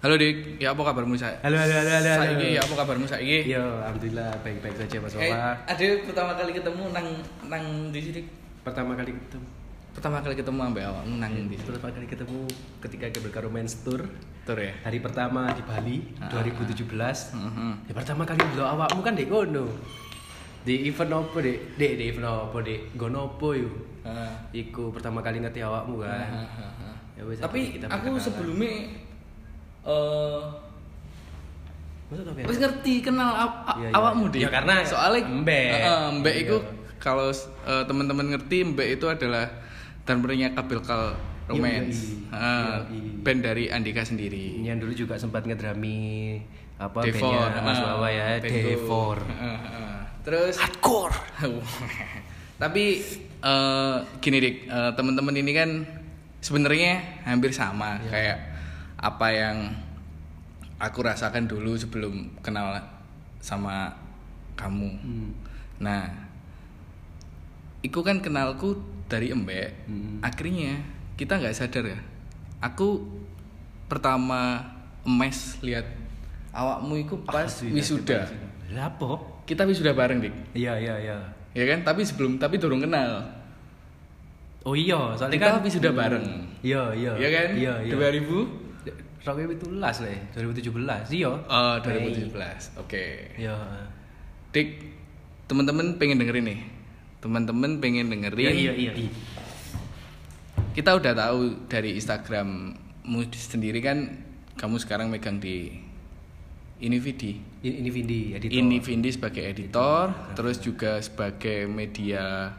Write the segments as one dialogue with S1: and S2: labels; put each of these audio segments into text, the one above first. S1: Halo Dik, ya apa kabarmu saya?
S2: Halo, halo, halo, halo. Iya,
S1: Saiki ya apa kabarmu saiki?
S2: Yo, alhamdulillah baik-baik saja Mas
S1: Eh,
S2: Wafa.
S1: ada pertama kali ketemu nang nang di sini. Dik.
S2: Pertama kali ketemu,
S1: Pertama kali ketemu ambek awakmu nang di situ.
S2: pertama kali ketemu ketika Gabel Romance Tour
S1: Tur ya.
S2: hari pertama di Bali
S1: Ah,
S2: 2017.
S1: Heeh.
S2: Ya, pertama kali dulu awakmu kan dek kono. Di event apa dek? Dek di event apa dek? Gono apa yuk?
S1: Heeh.
S2: Iku pertama kali ngerti awakmu
S1: Ah,
S2: kan.
S1: Heeh.
S2: Ya wes,
S1: Tapi ah.
S2: kita berkenalan.
S1: aku sebelumnya eh
S2: Maksud apa ya?
S1: wis ngerti kenal aw- a-
S2: Iya, iya.
S1: awakmu Dik.
S2: Ya, karena
S1: soalnya eh,
S2: Mbak.
S1: Heeh, Mbak
S2: Iya.
S1: itu kalau eh, teman-teman ngerti Mbak itu adalah drummernya
S2: Iya,
S1: Kabilkal Romance.
S2: Yoi.
S1: Heeh.
S2: Yoi.
S1: band dari Andika sendiri.
S2: Yang dulu juga sempat ngedrami apa
S1: Devor,
S2: bandnya Mas
S1: ah,
S2: Wawa ya,
S1: Bego.
S2: Devor.
S1: Ah, ah. Terus
S2: Hardcore.
S1: tapi eh, gini Dik, eh, teman-teman ini kan sebenarnya hampir sama
S2: Iya.
S1: kayak apa yang aku rasakan dulu sebelum kenal sama kamu.
S2: Hmm.
S1: Nah, Iku kan kenalku dari embek.
S2: Hmm.
S1: Akhirnya kita nggak sadar ya. Aku pertama emes lihat awakmu iku
S2: Ah,
S1: pas wisuda.
S2: Lah apa?
S1: Kita wisuda bareng dik.
S2: Iya iya iya.
S1: Ya kan? Tapi sebelum tapi durung kenal.
S2: Oh iya, soalnya
S1: Kita
S2: kan
S1: wisuda bareng.
S2: Iya iya.
S1: Ya kan?
S2: Iya iya.
S1: 2000
S2: Roknya itu lah, 2017. Iya.
S1: Oh, 2017. Oke.
S2: Iya.
S1: Dik, teman-teman pengen dengerin nih. Teman-teman pengen
S2: Iya
S1: dengerin.
S2: iya iya. iya.
S1: kita udah tahu dari Instagrammu sendiri kan kamu sekarang megang di Invidi.
S2: Ini ini Vindi editor.
S1: Invidi sebagai editor, terus juga sebagai media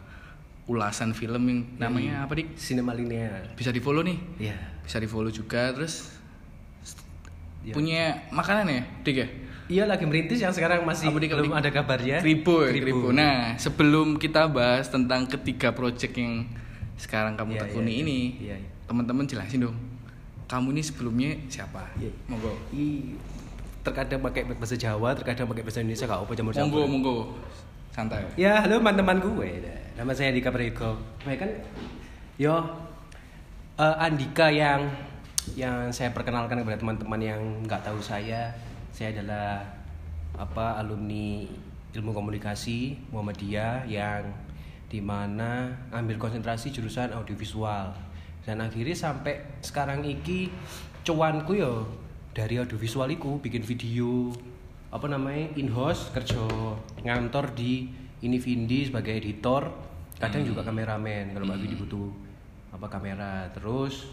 S1: ulasan film yang
S2: Hmm.
S1: namanya apa dik?
S2: Cinema linear.
S1: Bisa di follow nih,
S2: Iya.
S1: bisa di follow juga. Terus
S2: Iya.
S1: punya makanan ya, dik ya?
S2: Iya lagi merintis yang sekarang masih
S1: Apa di-
S2: belum ada kabarnya.
S1: Kribo, ya, Kribo. Nah, sebelum kita bahas tentang ketiga project yang sekarang kamu
S2: Iya,
S1: tekuni
S2: iya, iya.
S1: ini,
S2: Iya, iya.
S1: teman-teman jelasin dong. Kamu ini sebelumnya siapa?
S2: Iya.
S1: Monggo.
S2: I- terkadang pakai bahasa Jawa, terkadang pakai bahasa Indonesia gak apa jamur
S1: Monggo, monggo. Santai.
S2: Ya, halo teman-teman gue. Nama saya Andika Prego. Baik kan? Yo, eh, Andika yang yang saya perkenalkan kepada teman-teman yang nggak tahu saya, saya adalah apa alumni ilmu komunikasi Muhammadiyah yang dimana ambil konsentrasi jurusan audiovisual dan akhirnya sampai sekarang iki cuanku yo dari audiovisual iku bikin video apa namanya in house kerja ngantor di ini Vindi sebagai editor kadang juga kameramen kalau Mbak Vindi butuh apa kamera terus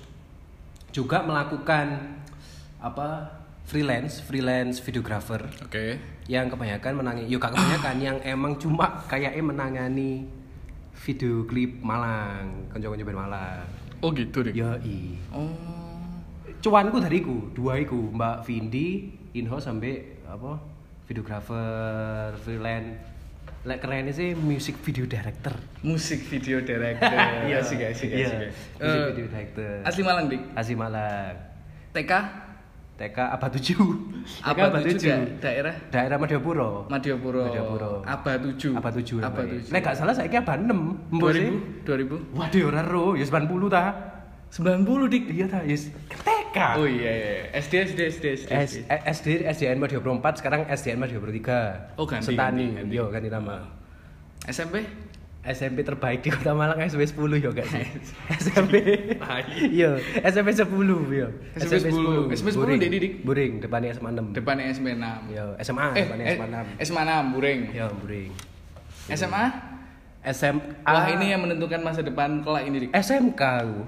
S2: juga melakukan apa freelance freelance videographer
S1: Oke.
S2: yang kebanyakan menangani yuk kebanyakan yang emang cuma kayaknya menangani video klip Malang konco-konco band Malang
S1: Oh gitu
S2: Iya.
S1: deh.
S2: yoi
S1: Oh.
S2: cuanku dariku dua iku mbak Vindi inhouse sampai apa videographer freelance lek kerennya sih music video director
S1: Musik video director. Asik, asik,
S2: Iya,
S1: asik.
S2: music
S1: Eh,
S2: video director
S1: asli Malang, Dik.
S2: asli Malang
S1: TK
S2: TK apa tujuh
S1: apa tujuh da- daerah
S2: daerah Madiopuro
S1: Madiopuro.
S2: Madiopuro
S1: Aba tujuh.
S2: apa tujuh
S1: Aba
S2: namanya.
S1: tujuh.
S2: lek gak salah saya apa enam
S1: 2000 2000
S2: waduh ora ro ya 90 ta
S1: 90 Dik.
S2: iya ta yes Kan TK
S1: Oh iya iya. SD SD SD SD.
S2: S- eh, SD SDN Madiobro 4 sekarang SDN Madiobro 3.
S1: Oh, ganti,
S2: Setani.
S1: ganti, ganti.
S2: Yo ganti nama.
S1: SMP?
S2: SMP terbaik di Kota Malang SMP 10 yo gak sih? SMP. Yo, SMP 10 yo.
S1: SMP 10. SMP 10
S2: Buring.
S1: Dek Didik.
S2: Buring depannya SMA 6.
S1: Depan SMP 6.
S2: Yo, SMA
S1: Eh,
S2: Ah, depannya SMA 6.
S1: SMA 6 Buring.
S2: Yo, Iya, Buring.
S1: SMA?
S2: SMA
S1: Wah, ini yang Eh, menentukan masa depan kelak ini,
S2: Eh,
S1: Dik. Eh,
S2: SMK aku.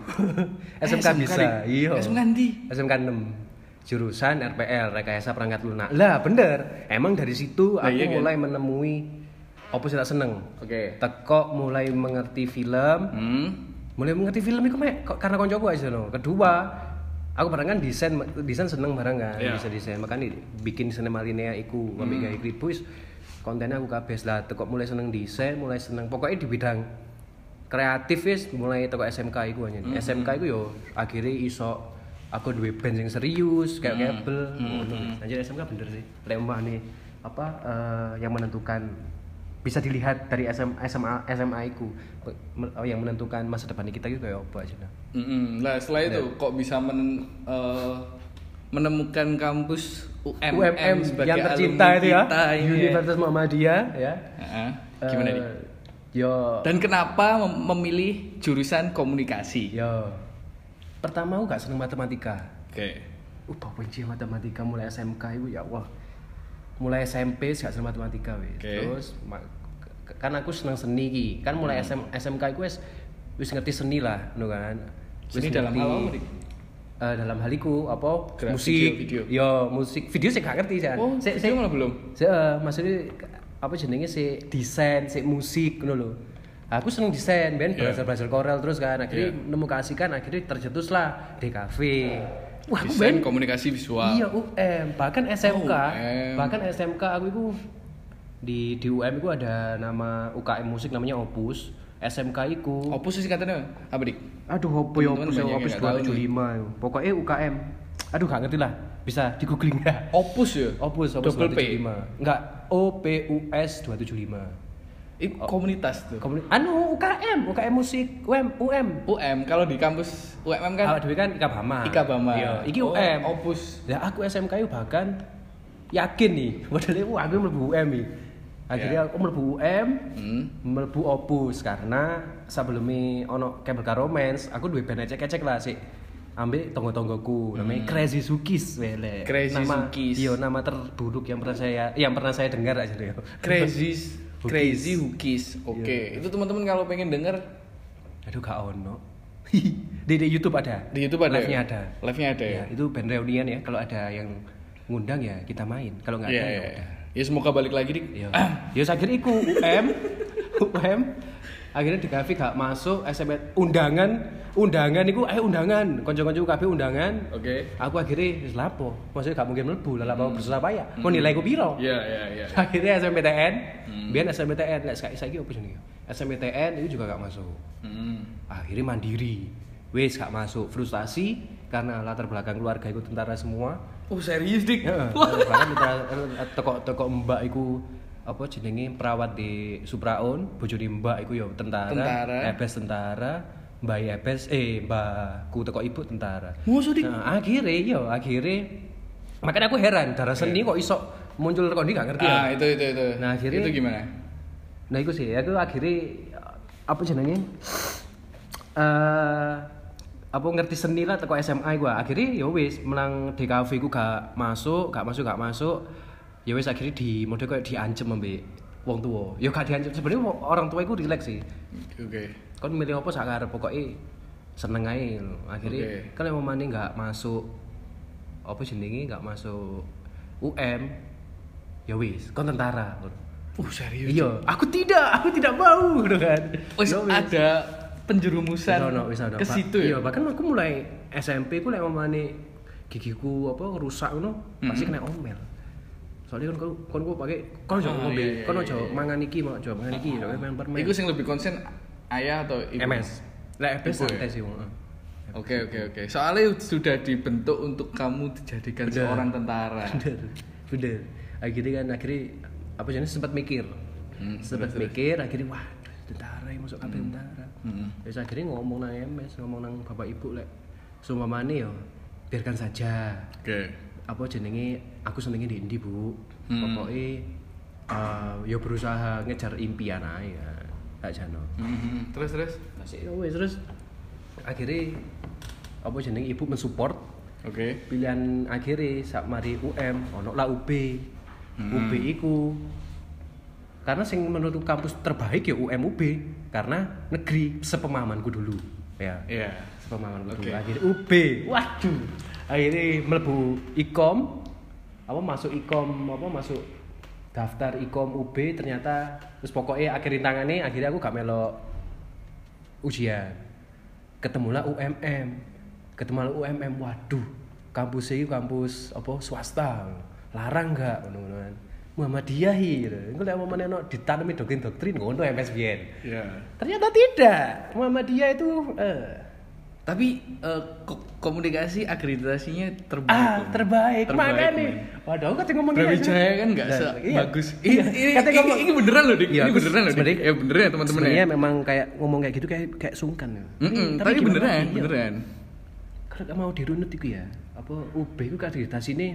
S2: SMK, bisa.
S1: Dik.
S2: Iya.
S1: SMK ndi?
S2: SMK 6 jurusan RPL rekayasa perangkat lunak lah bener emang dari situ
S1: Lah,
S2: aku
S1: iya kan?
S2: mulai menemui apa sih tak seneng
S1: Oke.
S2: teko mulai mengerti film
S1: Hmm.
S2: mulai mengerti film itu mek kok- karena koncoku aja loh kedua aku barang kan desain desain seneng barang kan
S1: Iya.
S2: bisa desain makanya bikin sinema linea iku hmm. gawe klipu is kontennya aku kabeh lah teko mulai seneng desain mulai seneng pokoknya di bidang kreatif is mulai teko SMK iku aja SMK iku yo akhirnya iso aku duwe band yang serius kayak Nah, kabel ngono. anjir SMK bener sih lemah nih apa eh, yang menentukan bisa dilihat dari SM, SMA SMA ku Pe- me- yang menentukan
S1: Hmm,
S2: masa depan kita itu kayak apa aja nah.
S1: Mm-mm. Lah setelah itu kok bisa men eh, menemukan kampus UMM,
S2: UMM
S1: sebagai
S2: yang tercinta
S1: alumni
S2: itu ya
S1: kita, iya.
S2: Universitas Muhammadiyah ya
S1: Heeh, gimana
S2: Eh,
S1: nih?
S2: yo
S1: Dan kenapa mem- memilih jurusan komunikasi?
S2: yo pertama aku gak seneng matematika
S1: Oke.
S2: Ubah benci matematika mulai SMK itu ya Allah. Mulai SMP gak seneng matematika wis.
S1: Oke.
S2: Terus ma- k- kan aku seneng seni ki. Kan
S1: Hmm.
S2: mulai SM SMK iku wis wis ngerti seni lah, ngono kan. Wis
S1: Seni dalam
S2: ngerti,
S1: hal apa, Dik?
S2: eh, dalam haliku apa
S1: Grafik,
S2: musik
S1: video, video.
S2: yo musik video sih gak ngerti saya
S1: Oh,
S2: Sik-
S1: video
S2: sik-
S1: malah belum?
S2: sik, eh, maksudnya k- apa jenenge sih desain sih musik ngono lho aku seneng desain ben
S1: Iya.
S2: belajar belajar Corel terus kan akhirnya
S1: Iya.
S2: nemu keasikan akhirnya tercetus lah di kafe wah aku ben
S1: Desain komunikasi visual.
S2: Iya UM, bahkan
S1: Oh,
S2: SMK,
S1: UM.
S2: bahkan SMK aku itu di di UM itu ada nama UKM musik namanya Opus, SMK itu.
S1: Opus sih katanya apa dik?
S2: Aduh opo ya
S1: Teman-teman
S2: Opus ya,
S1: banyak yang
S2: Opus
S1: nggak tahu
S2: 275 yo. Pokoknya UKM. Aduh gak ngerti lah, bisa di googling ya.
S1: Opus ya.
S2: Opus Opus
S1: Double P.
S2: 275. Enggak, O P U S 275.
S1: Itu komunitas tuh.
S2: Kemudian anu UKM, UKM musik, UM, UM.
S1: UM kalau di kampus UMM
S2: Awak
S1: kan
S2: dhewe kan Ika Bama.
S1: Ika Bama.
S2: Iya, iki
S1: Oh,
S2: UM.
S1: Opus.
S2: Ya aku SMK yo bahkan yakin nih, padahal aku aku mlebu UM iki.
S1: Ya.
S2: Akhirnya aku mlebu UM,
S1: Hmm.
S2: mlebu Opus karena sebelumnya ono kabel karo romance, aku duwe band ecek-ecek lah sih. Ambek tonggo-tonggoku namanya Crazy Sukis wele.
S1: Hmm. Crazy
S2: nama,
S1: Sukis.
S2: Iya, nama terburuk yang pernah saya yang pernah saya dengar aja yo.
S1: Crazy
S2: Hookies. Iya.
S1: Crazy Hookies. Oke, itu teman-teman kalau pengen denger
S2: Aduh gak ono. di, di YouTube ada.
S1: di YouTube ada. ya?
S2: Live-nya ada.
S1: Live-nya ada
S2: Ya,
S1: ya.
S2: itu band reunian ya. Kalau ada yang ngundang ya kita main. Kalau nggak
S1: Iya,
S2: ada
S1: iya.
S2: ya udah.
S1: Ya semoga balik lagi dik.
S2: Ya. Ya saya kira iku UM, UM akhirnya di kafe gak masuk SMS undangan undangan iku eh undangan konco-konco kabeh undangan
S1: Oke.
S2: aku akhirnya wis lapo maksudnya gak mungkin mlebu lah lapo bersusapaya mau nilai ku piro
S1: Iya, iya, iya.
S2: akhirnya SMPTN biar SMPTN nek saiki saiki opo jenenge SMPTN itu juga gak masuk
S1: Hmm.
S2: akhirnya mandiri wes gak masuk frustasi karena latar belakang keluarga itu tentara semua
S1: Oh, serius dik.
S2: Heeh, latar belakang tentara- eh, toko-toko mbak iku apa jenenge perawat di Supraon bojone mbak iku ya tentara,
S1: Tentara.
S2: ebes tentara mbak ebes eh mbakku teko ibu tentara
S1: Musuh dik.
S2: nah, akhirnya ya akhirnya makanya aku heran darah seni kok iso muncul kok ini gak ngerti ya
S1: Ah, itu itu itu.
S2: Nah, akhirnya-
S1: itu gimana?
S2: Nah itu sih, aku akhirnya apa jenenge? Eh apa ngerti seni lah teko SMA gua. Akhirnya ya wis menang DKV ku gak masuk, gak masuk, gak masuk. Ya wis akhirnya di mode kayak diancem ambek wong tua. Ya gak diancem sebenarnya wo- orang tua iku relax sih.
S1: Oke.
S2: Kon milih apa sak karep pokoke seneng ae lho. Akhirnya
S1: Oke.
S2: kan emang mana gak masuk apa jenenge gak masuk UM. Ya wis, kon tentara.
S1: Oh, serius.
S2: Iya, aku tidak, aku tidak mau gitu kan.
S1: Wis
S2: Yo, wis.
S1: ada
S2: Wis
S1: penjerumusan
S2: ono, wis ono.
S1: ke
S2: Ba-
S1: situ
S2: Iya,
S1: ya.
S2: bahkan aku mulai SMP aku lek mamane gigiku apa rusak ngono, pasti kena omel. Soalnya kan kon kon pakai kon ojo
S1: Ah,
S2: ngombe,
S1: iya, iya,
S2: kon ojo mangan iki, mau ojo mangan iki, ojo main permen.
S1: Iku sing lebih konsen ayah atau ibu?
S2: MS. Lek FPS
S1: Ibu ya?
S2: santai sih wong. eh.
S1: Oke oke oke. Soalnya sudah dibentuk untuk kamu dijadikan
S2: Bener.
S1: seorang tentara.
S2: Bener. Bener. Akhirnya kan akhirnya apa jenis sempat mikir.
S1: Hmm,
S2: sempat mikir akhirnya wah tentara ya, masuk kabeh tentara.
S1: Hmm.
S2: Terus Ya, akhirnya ngomong nang MS, ngomong nang bapak ibu lek sumpamane yo biarkan saja.
S1: Oke.
S2: Apa jenenge aku senenge di Indi, Bu.
S1: Hmm.
S2: Pokoke eh, yo berusaha ngejar impian ae ya. Kak Jano.
S1: Mhm. Terus terus.
S2: Masih yo wes terus akhirnya apa jenenge ibu mensupport
S1: Oke.
S2: pilihan akhirnya sak mari UM ono lah UB. UB iku karena sing menurut kampus terbaik ya UM UB karena negeri sepemahamanku dulu ya
S1: Iya.
S2: sepemahaman gue
S1: Oke.
S2: dulu akhirnya UB waduh akhirnya melebu ikom apa masuk ikom apa masuk daftar ikom UB ternyata terus pokoknya akhir tangannya akhirnya aku gak melo ujian ketemulah UMM ketemulah UMM waduh kampus ini kampus apa swasta larang gak ngono-ngonoan Muhammadiyah gitu. Engko lek apa meneh ditanami doktrin-doktrin ngono MSBN.
S1: Iya.
S2: Ternyata tidak. Muhammadiyah itu eh,
S1: Tapi eh, ko- komunikasi akreditasinya terbaik.
S2: ah
S1: Om.
S2: terbaik,
S1: Terbaik,
S2: makanya nih. Waduh, aku kata ngomong gitu.
S1: Brawijaya kan nggak se bagus. Iya. Ini, ini,
S2: Kata
S1: ini,
S2: iya. ngomong
S1: ini beneran loh, Dik.
S2: Iya,
S1: ini
S2: aku
S1: beneran loh, Dik.
S2: sebenarnya-
S1: Ya beneran ya teman-teman ya.
S2: Sebenarnya memang kayak ngomong kayak gitu kayak kayak sungkan ya.
S1: Mm-mm,
S2: Tapi
S1: tapi
S2: gimana?
S1: beneran,
S2: Iya.
S1: beneran.
S2: Kalau nggak mau dirunut itu ya, apa apa UB itu sini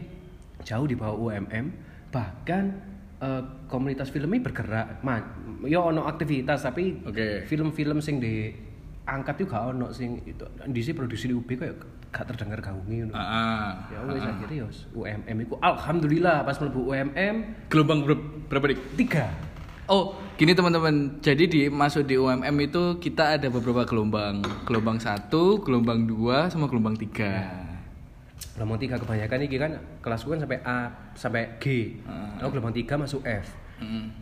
S2: jauh di bawah UMM bahkan eh, komunitas film ini bergerak Ma, yo ono aktivitas tapi
S1: Oke.
S2: film-film sing di angkat itu gak ono sing itu di sini produksi di UB kayak ya gak terdengar gaungi ngono.
S1: Ah,
S2: ya wes akhirnya yo UMM itu alhamdulillah pas mlebu UMM
S1: gelombang ber- berapa dik?
S2: tiga
S1: Oh, gini teman-teman. Jadi di masuk di UMM itu kita ada beberapa gelombang. Gelombang satu, gelombang dua, sama gelombang tiga.
S2: gelombang tiga kebanyakan ini kan kelas gue kan sampai A sampai G lalu gelombang tiga masuk F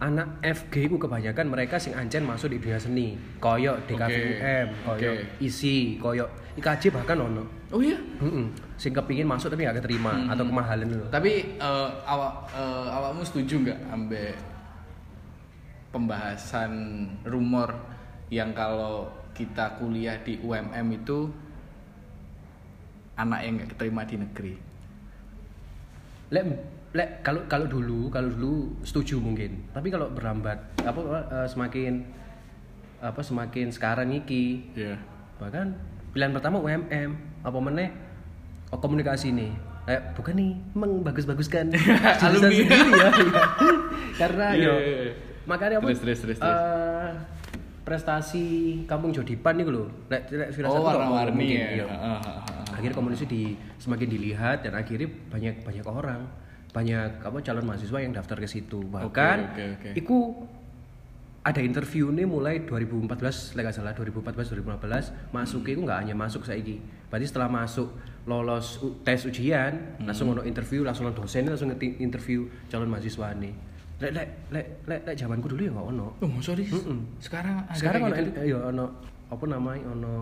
S2: anak FG ku kebanyakan mereka sing ancen masuk di dunia seni koyo DKVUM koyo isi koyo IKJ bahkan ono
S1: Oh iya.
S2: Mm-mm. sing kepingin masuk tapi gak keterima atau kemahalan dulu
S1: Tapi eh, awak eh, awakmu setuju nggak ambek pembahasan rumor yang kalau kita kuliah di UMM itu anak yang nggak keterima di negeri?
S2: lek lek kalau kalau dulu kalau dulu setuju mungkin tapi kalau berlambat apa eh, semakin apa semakin sekarang iki
S1: Iya.
S2: bahkan pilihan pertama UMM apa meneh oh, komunikasi nih eh, bukan nih mengbagus-baguskan jurusan
S1: Alumni.
S2: sendiri ya karena
S1: Iya,
S2: yo
S1: iya, iya.
S2: makanya apa
S1: Terus, terus, terus, terus.
S2: eh, prestasi kampung Jodipan nih loh lek lek firasatku
S1: Oh
S2: kok
S1: warna-warni
S2: mungkin,
S1: ya.
S2: yo.
S1: Ah, ah, ah.
S2: akhirnya komunikasi di semakin dilihat dan akhirnya banyak banyak orang banyak apa calon mahasiswa yang daftar ke situ bahkan
S1: oke, oke.
S2: iku ada interview nih mulai 2014 lek gak salah 2014 2015 masuk itu nggak hanya masuk saiki berarti setelah masuk lolos u- tes ujian
S1: Hmm.
S2: langsung ono interview langsung ono dosen langsung ngeti interview calon mahasiswa nih lek lek lek lek lek zamanku dulu ya nggak ono
S1: Oh, sorry. Sekarang ada
S2: sekarang
S1: kayak
S2: ono
S1: gitu?
S2: eh, yo ono apa namanya ono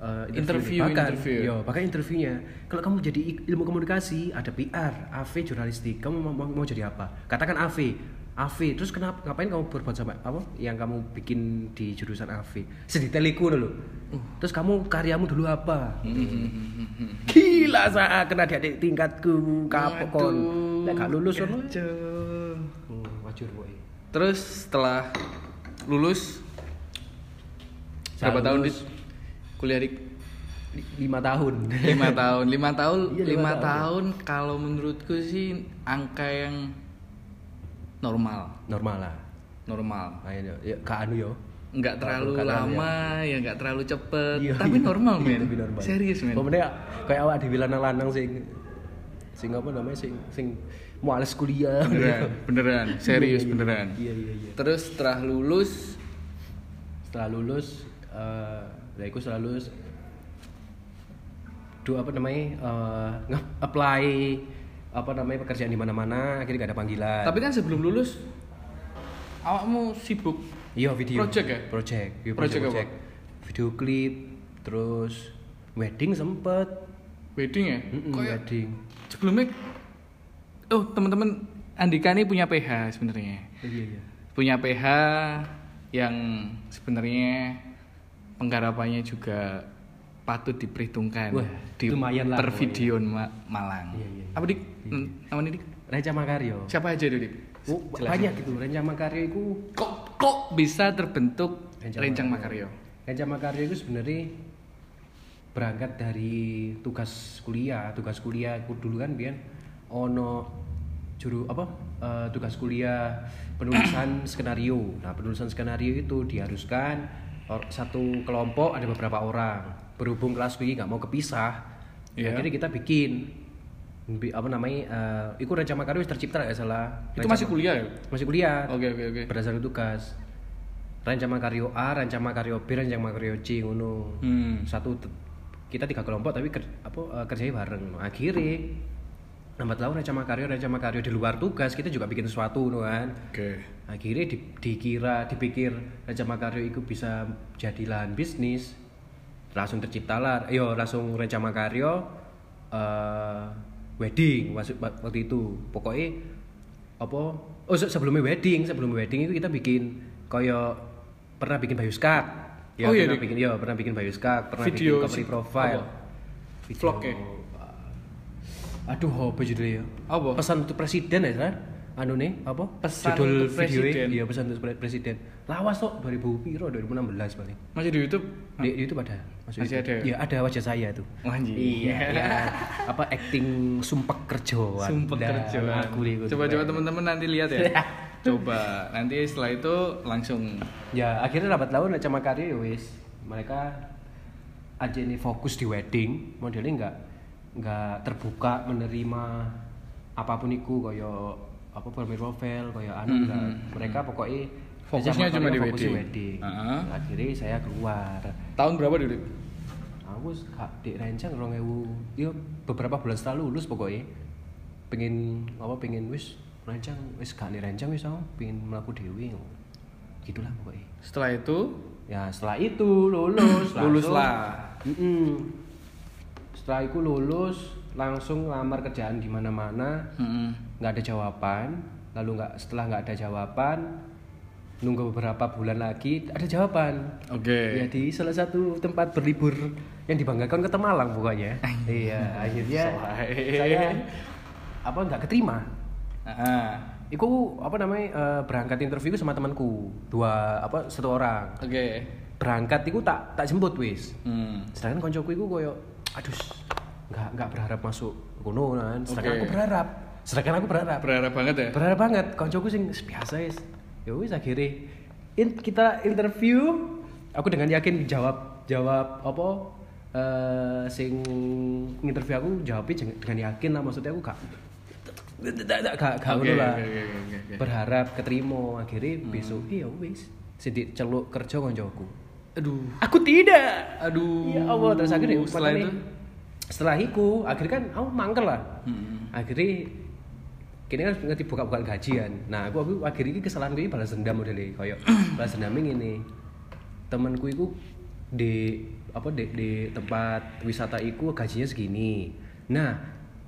S2: eh,
S1: Interview,
S2: bahkan,
S1: interview.
S2: yo bahkan interviewnya kalau kamu jadi ik- ilmu komunikasi ada PR AV jurnalistik kamu mau, mau, mau jadi apa katakan AV AV terus kenapa ngapain kamu berbuat sama apa yang kamu bikin di jurusan AV sedetail iku dulu terus kamu karyamu dulu apa
S1: Mm-hmm,
S2: gila saya kena adik tingkatku kapok kon
S1: Waduh,
S2: lek gak lulus ono
S1: kacau.
S2: hmm, wajur boy
S1: Terus setelah lulus berapa
S2: Setelah
S1: tahun di
S2: lulus.
S1: kuliah di
S2: Li- lima tahun
S1: lima tahun lima tahun
S2: Iya, lima
S1: lima
S2: tahun.
S1: tahun kalau menurutku sih angka yang normal
S2: normal lah
S1: normal
S2: Ayo, ya, Kak Anu yo.
S1: nggak terlalu
S2: Bukan
S1: lama ya nggak terlalu cepet
S2: Iya,
S1: tapi
S2: iya.
S1: normal
S2: Iya,
S1: men
S2: tapi normal.
S1: serius men
S2: Pemennya kayak awak di lanang-lanang sing sing apa namanya sing sing males kuliah.
S1: beneran beneran
S2: Iya,
S1: serius
S2: iya.
S1: beneran
S2: Iya iya iya.
S1: terus setelah lulus
S2: Setelah lulus eh ya aku setelah lulus do apa namanya eh, nge-apply apa namanya pekerjaan di mana-mana akhirnya gak ada panggilan.
S1: tapi kan sebelum lulus awakmu sibuk
S2: Iya video.
S1: Project ya?
S2: Project. Iya,
S1: Project apa?
S2: Video klip, terus wedding sempet.
S1: wedding ya
S2: Mm-mm,
S1: Kayak-
S2: wedding.
S1: sebelumnya oh teman-teman Andika ini punya PH sebenarnya
S2: Iya iya.
S1: punya PH yang sebenarnya penggarapannya juga patut diperhitungkan
S2: Wah,
S1: di
S2: lumayan lah.
S1: pervideon Ma- Malang.
S2: Iya, iya, iya.
S1: Apa dik? Namanya dik?
S2: Reca Makaryo.
S1: Siapa aja itu dik?
S2: Oh, banyak
S1: gitu.
S2: itu Renca Makaryo itu
S1: Kok kok bisa terbentuk
S2: Rencang
S1: Rencang Makaryo?
S2: Renca Makaryo itu sebenarnya berangkat dari tugas kuliah tugas kuliah aku dulu kan biar ono juru apa eh, tugas kuliah penulisan skenario nah penulisan skenario itu diharuskan or- satu kelompok ada beberapa orang berhubung kelas gue nggak mau kepisah
S1: Iya.
S2: akhirnya kita bikin Bi- apa namanya eh, itu Renca Makaryo tercipta nggak salah
S1: Itu
S2: Renca
S1: masih kuliah ya?
S2: masih kuliah
S1: Oke oke oke.
S2: berdasarkan tugas rancaman karyo A, rancaman karyo B, rancaman karyo C ngono.
S1: Hmm.
S2: Satu te- kita tiga kelompok tapi ker, apa eh, kerjanya bareng. Akhirnya lambat laun rancaman karyo, rancaman karyo di luar tugas kita juga bikin sesuatu ngono kan.
S1: Oke.
S2: Akhirnya di- dikira, dipikir rancaman karyo itu bisa jadi lahan bisnis. Langsung terciptalah, yo langsung rancaman karyo eh, wedding waktu waktu itu. Pokoknya apa oh se- sebelumnya wedding sebelum wedding itu kita bikin koyo pernah bikin bayu skak ya
S1: Oh, iya,
S2: pernah
S1: Dik.
S2: bikin ya pernah bikin bayu skak pernah
S1: Video
S2: bikin cover
S1: si-
S2: profile
S1: apa? Vlog ya?
S2: aduh apa judulnya ya
S1: Apa?
S2: pesan untuk presiden ya kan anu nih apa
S1: Pesan
S2: judul
S1: untuk
S2: videonya.
S1: presiden.
S2: iya pesan untuk presiden lawas tuh 2000 piro 2016 paling
S1: Masih di YouTube?
S2: di, di YouTube ada maksudnya
S1: Masih ada ya?
S2: ya ada wajah saya tuh
S1: Wah, anjing.
S2: ya, apa acting sumpek kerjaan
S1: Sumpah
S2: Dah,
S1: kerja.
S2: aku nih, aku
S1: Coba-coba
S2: nih.
S1: teman-teman nanti lihat ya. Coba nanti setelah itu langsung
S2: ya akhirnya dapat lawan sama karya ya wis mereka aja ini fokus di wedding modelnya nggak nggak terbuka menerima apapun itu koyo apa Permir Rovel koyo anu nggak. mereka pokoknya
S1: Hmm, Fokusnya
S2: sama
S1: cuma
S2: karya
S1: di
S2: fokus
S1: wedding. Heeh.
S2: akhirnya saya keluar
S1: tahun berapa dulu?
S2: aku gak di rencang rong ewu ya beberapa bulan setelah lulus pokoknya pengen apa pengen wis rencang wis gak nih rencang wis aku pengen melaku dewi gitulah pokoknya
S1: Setelah itu
S2: Ya setelah itu lulus
S1: Lulus
S2: langsung-
S1: lah.
S2: Mm-mm. Setelah itu lulus langsung ngelamar kerjaan di mana-mana
S1: Mm-mm.
S2: nggak ada jawaban lalu nggak setelah nggak ada jawaban nunggu beberapa bulan lagi ada jawaban ya
S1: Oke.
S2: di salah satu tempat berlibur yang dibanggakan kota Malang pokoknya iya akhirnya
S1: Selai.
S2: saya apa nggak keterima
S1: Heeh.
S2: Iku apa namanya eh, berangkat interview sama temanku dua apa satu orang
S1: Oke.
S2: berangkat iku tak tak jemput wis
S1: Hmm.
S2: sedangkan koncoku iku koyo aduh nggak nggak berharap masuk kono kan sedangkan
S1: Oke.
S2: aku berharap sedangkan aku berharap
S1: Berharap banget ya.
S2: berharap banget koncoku sing biasa wis ya wis akhirnya in, kita interview aku dengan yakin jawab jawab apa eh sing interview aku jawabnya jeng- dengan yakin lah maksudnya aku gak gak gak gak gak
S1: Oke,
S2: ngono lah
S1: oke, oke, oke, oke. Hmm.
S2: berharap keterima akhirnya besok iya wis sidik celuk kerja koncoku
S1: Aduh.
S2: aku tidak
S1: Aduh.
S2: Ya Allah, terus akhirnya
S1: setelah
S2: makanya-
S1: itu.
S2: Setelah iku, akhirnya kan aku mangkel lah.
S1: Mm-mm.
S2: Akhirnya kini kan ngerti buka-bukaan gajian. Nah, aku aku akhirnya iki kesalahan gue balas dendam modelnya koyo balas dendam ini. Temanku iku di apa di, di tempat wisata iku gajinya segini. Nah,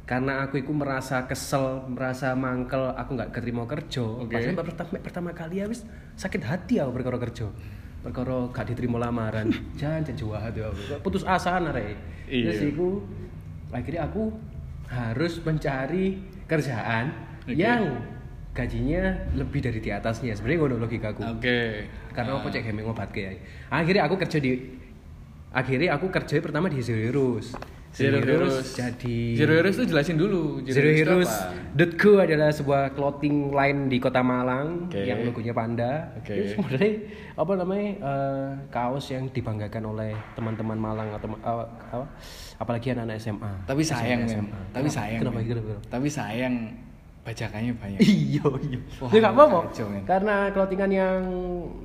S2: karena aku iku merasa kesel, merasa mangkel, aku nggak keterima kerja.
S1: Oke.
S2: Pas pertama, pertama kali ya wis sakit hati aku perkara kerja perkara gak diterima lamaran jangan jangan jahat ya aku. putus asa arek
S1: Iya.
S2: terus iku akhirnya aku harus mencari kerjaan
S1: Oke.
S2: yang gajinya lebih dari di atasnya sebenarnya ngono logikaku
S1: Oke. Ah.
S2: karena aku cek gaming obat kayak akhirnya aku kerja di akhirnya aku kerja pertama di Zero Heroes
S1: Zero Heroes.
S2: jadi
S1: Zero Heroes itu jelasin dulu.
S2: Zero
S1: itu
S2: Heroes
S1: apa?
S2: .co adalah sebuah clothing line di Kota Malang
S1: Oke.
S2: yang logonya panda.
S1: Oke.
S2: Itu sebenarnya apa namanya eh, kaos yang dibanggakan oleh teman-teman Malang atau eh, apa, apalagi anak-anak SMA.
S1: Tapi sayang, men.
S2: SMA.
S1: Tapi sayang.
S2: Kenapa?
S1: men.
S2: Kenapa? Kenapa?
S1: Tapi sayang bajakannya banyak.
S2: Iya, iya.
S1: Wah,
S2: Ya nggak apa-apa.
S1: kacau, men.
S2: Karena clothingan yang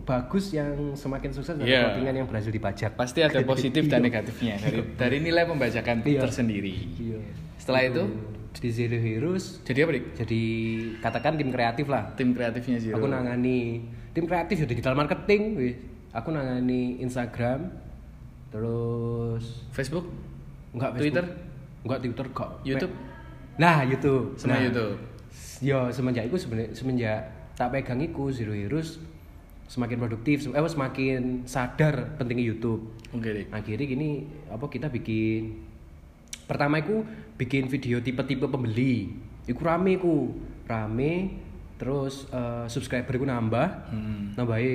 S2: bagus yang semakin sukses dan
S1: Iya.
S2: clothingan yang berhasil dipajak.
S1: Pasti ada positif dan negatifnya dari dari nilai pembajakan
S2: Iya.
S1: tersendiri.
S2: Iya.
S1: Setelah itu
S2: Di Zero Heroes
S1: jadi apa, Dik?
S2: jadi katakan tim kreatif lah
S1: Tim kreatifnya Zero.
S2: aku nangani tim kreatif ya digital marketing wih. aku nangani Instagram terus
S1: Facebook,
S2: enggak
S1: Twitter?
S2: enggak Twitter kok
S1: YouTube?
S2: nah YouTube
S1: sama
S2: Nah,
S1: YouTube.
S2: yo Ya, semenjak itu sebenarnya semenjak tak pegang iku zero heroes semakin produktif sem- eh, semakin sadar pentingnya YouTube
S1: Oke, Dik.
S2: akhirnya gini apa kita bikin pertama aku bikin video tipe-tipe pembeli iku rame ku rame terus eh, subscriber ku nambah
S1: Hmm.
S2: nambahi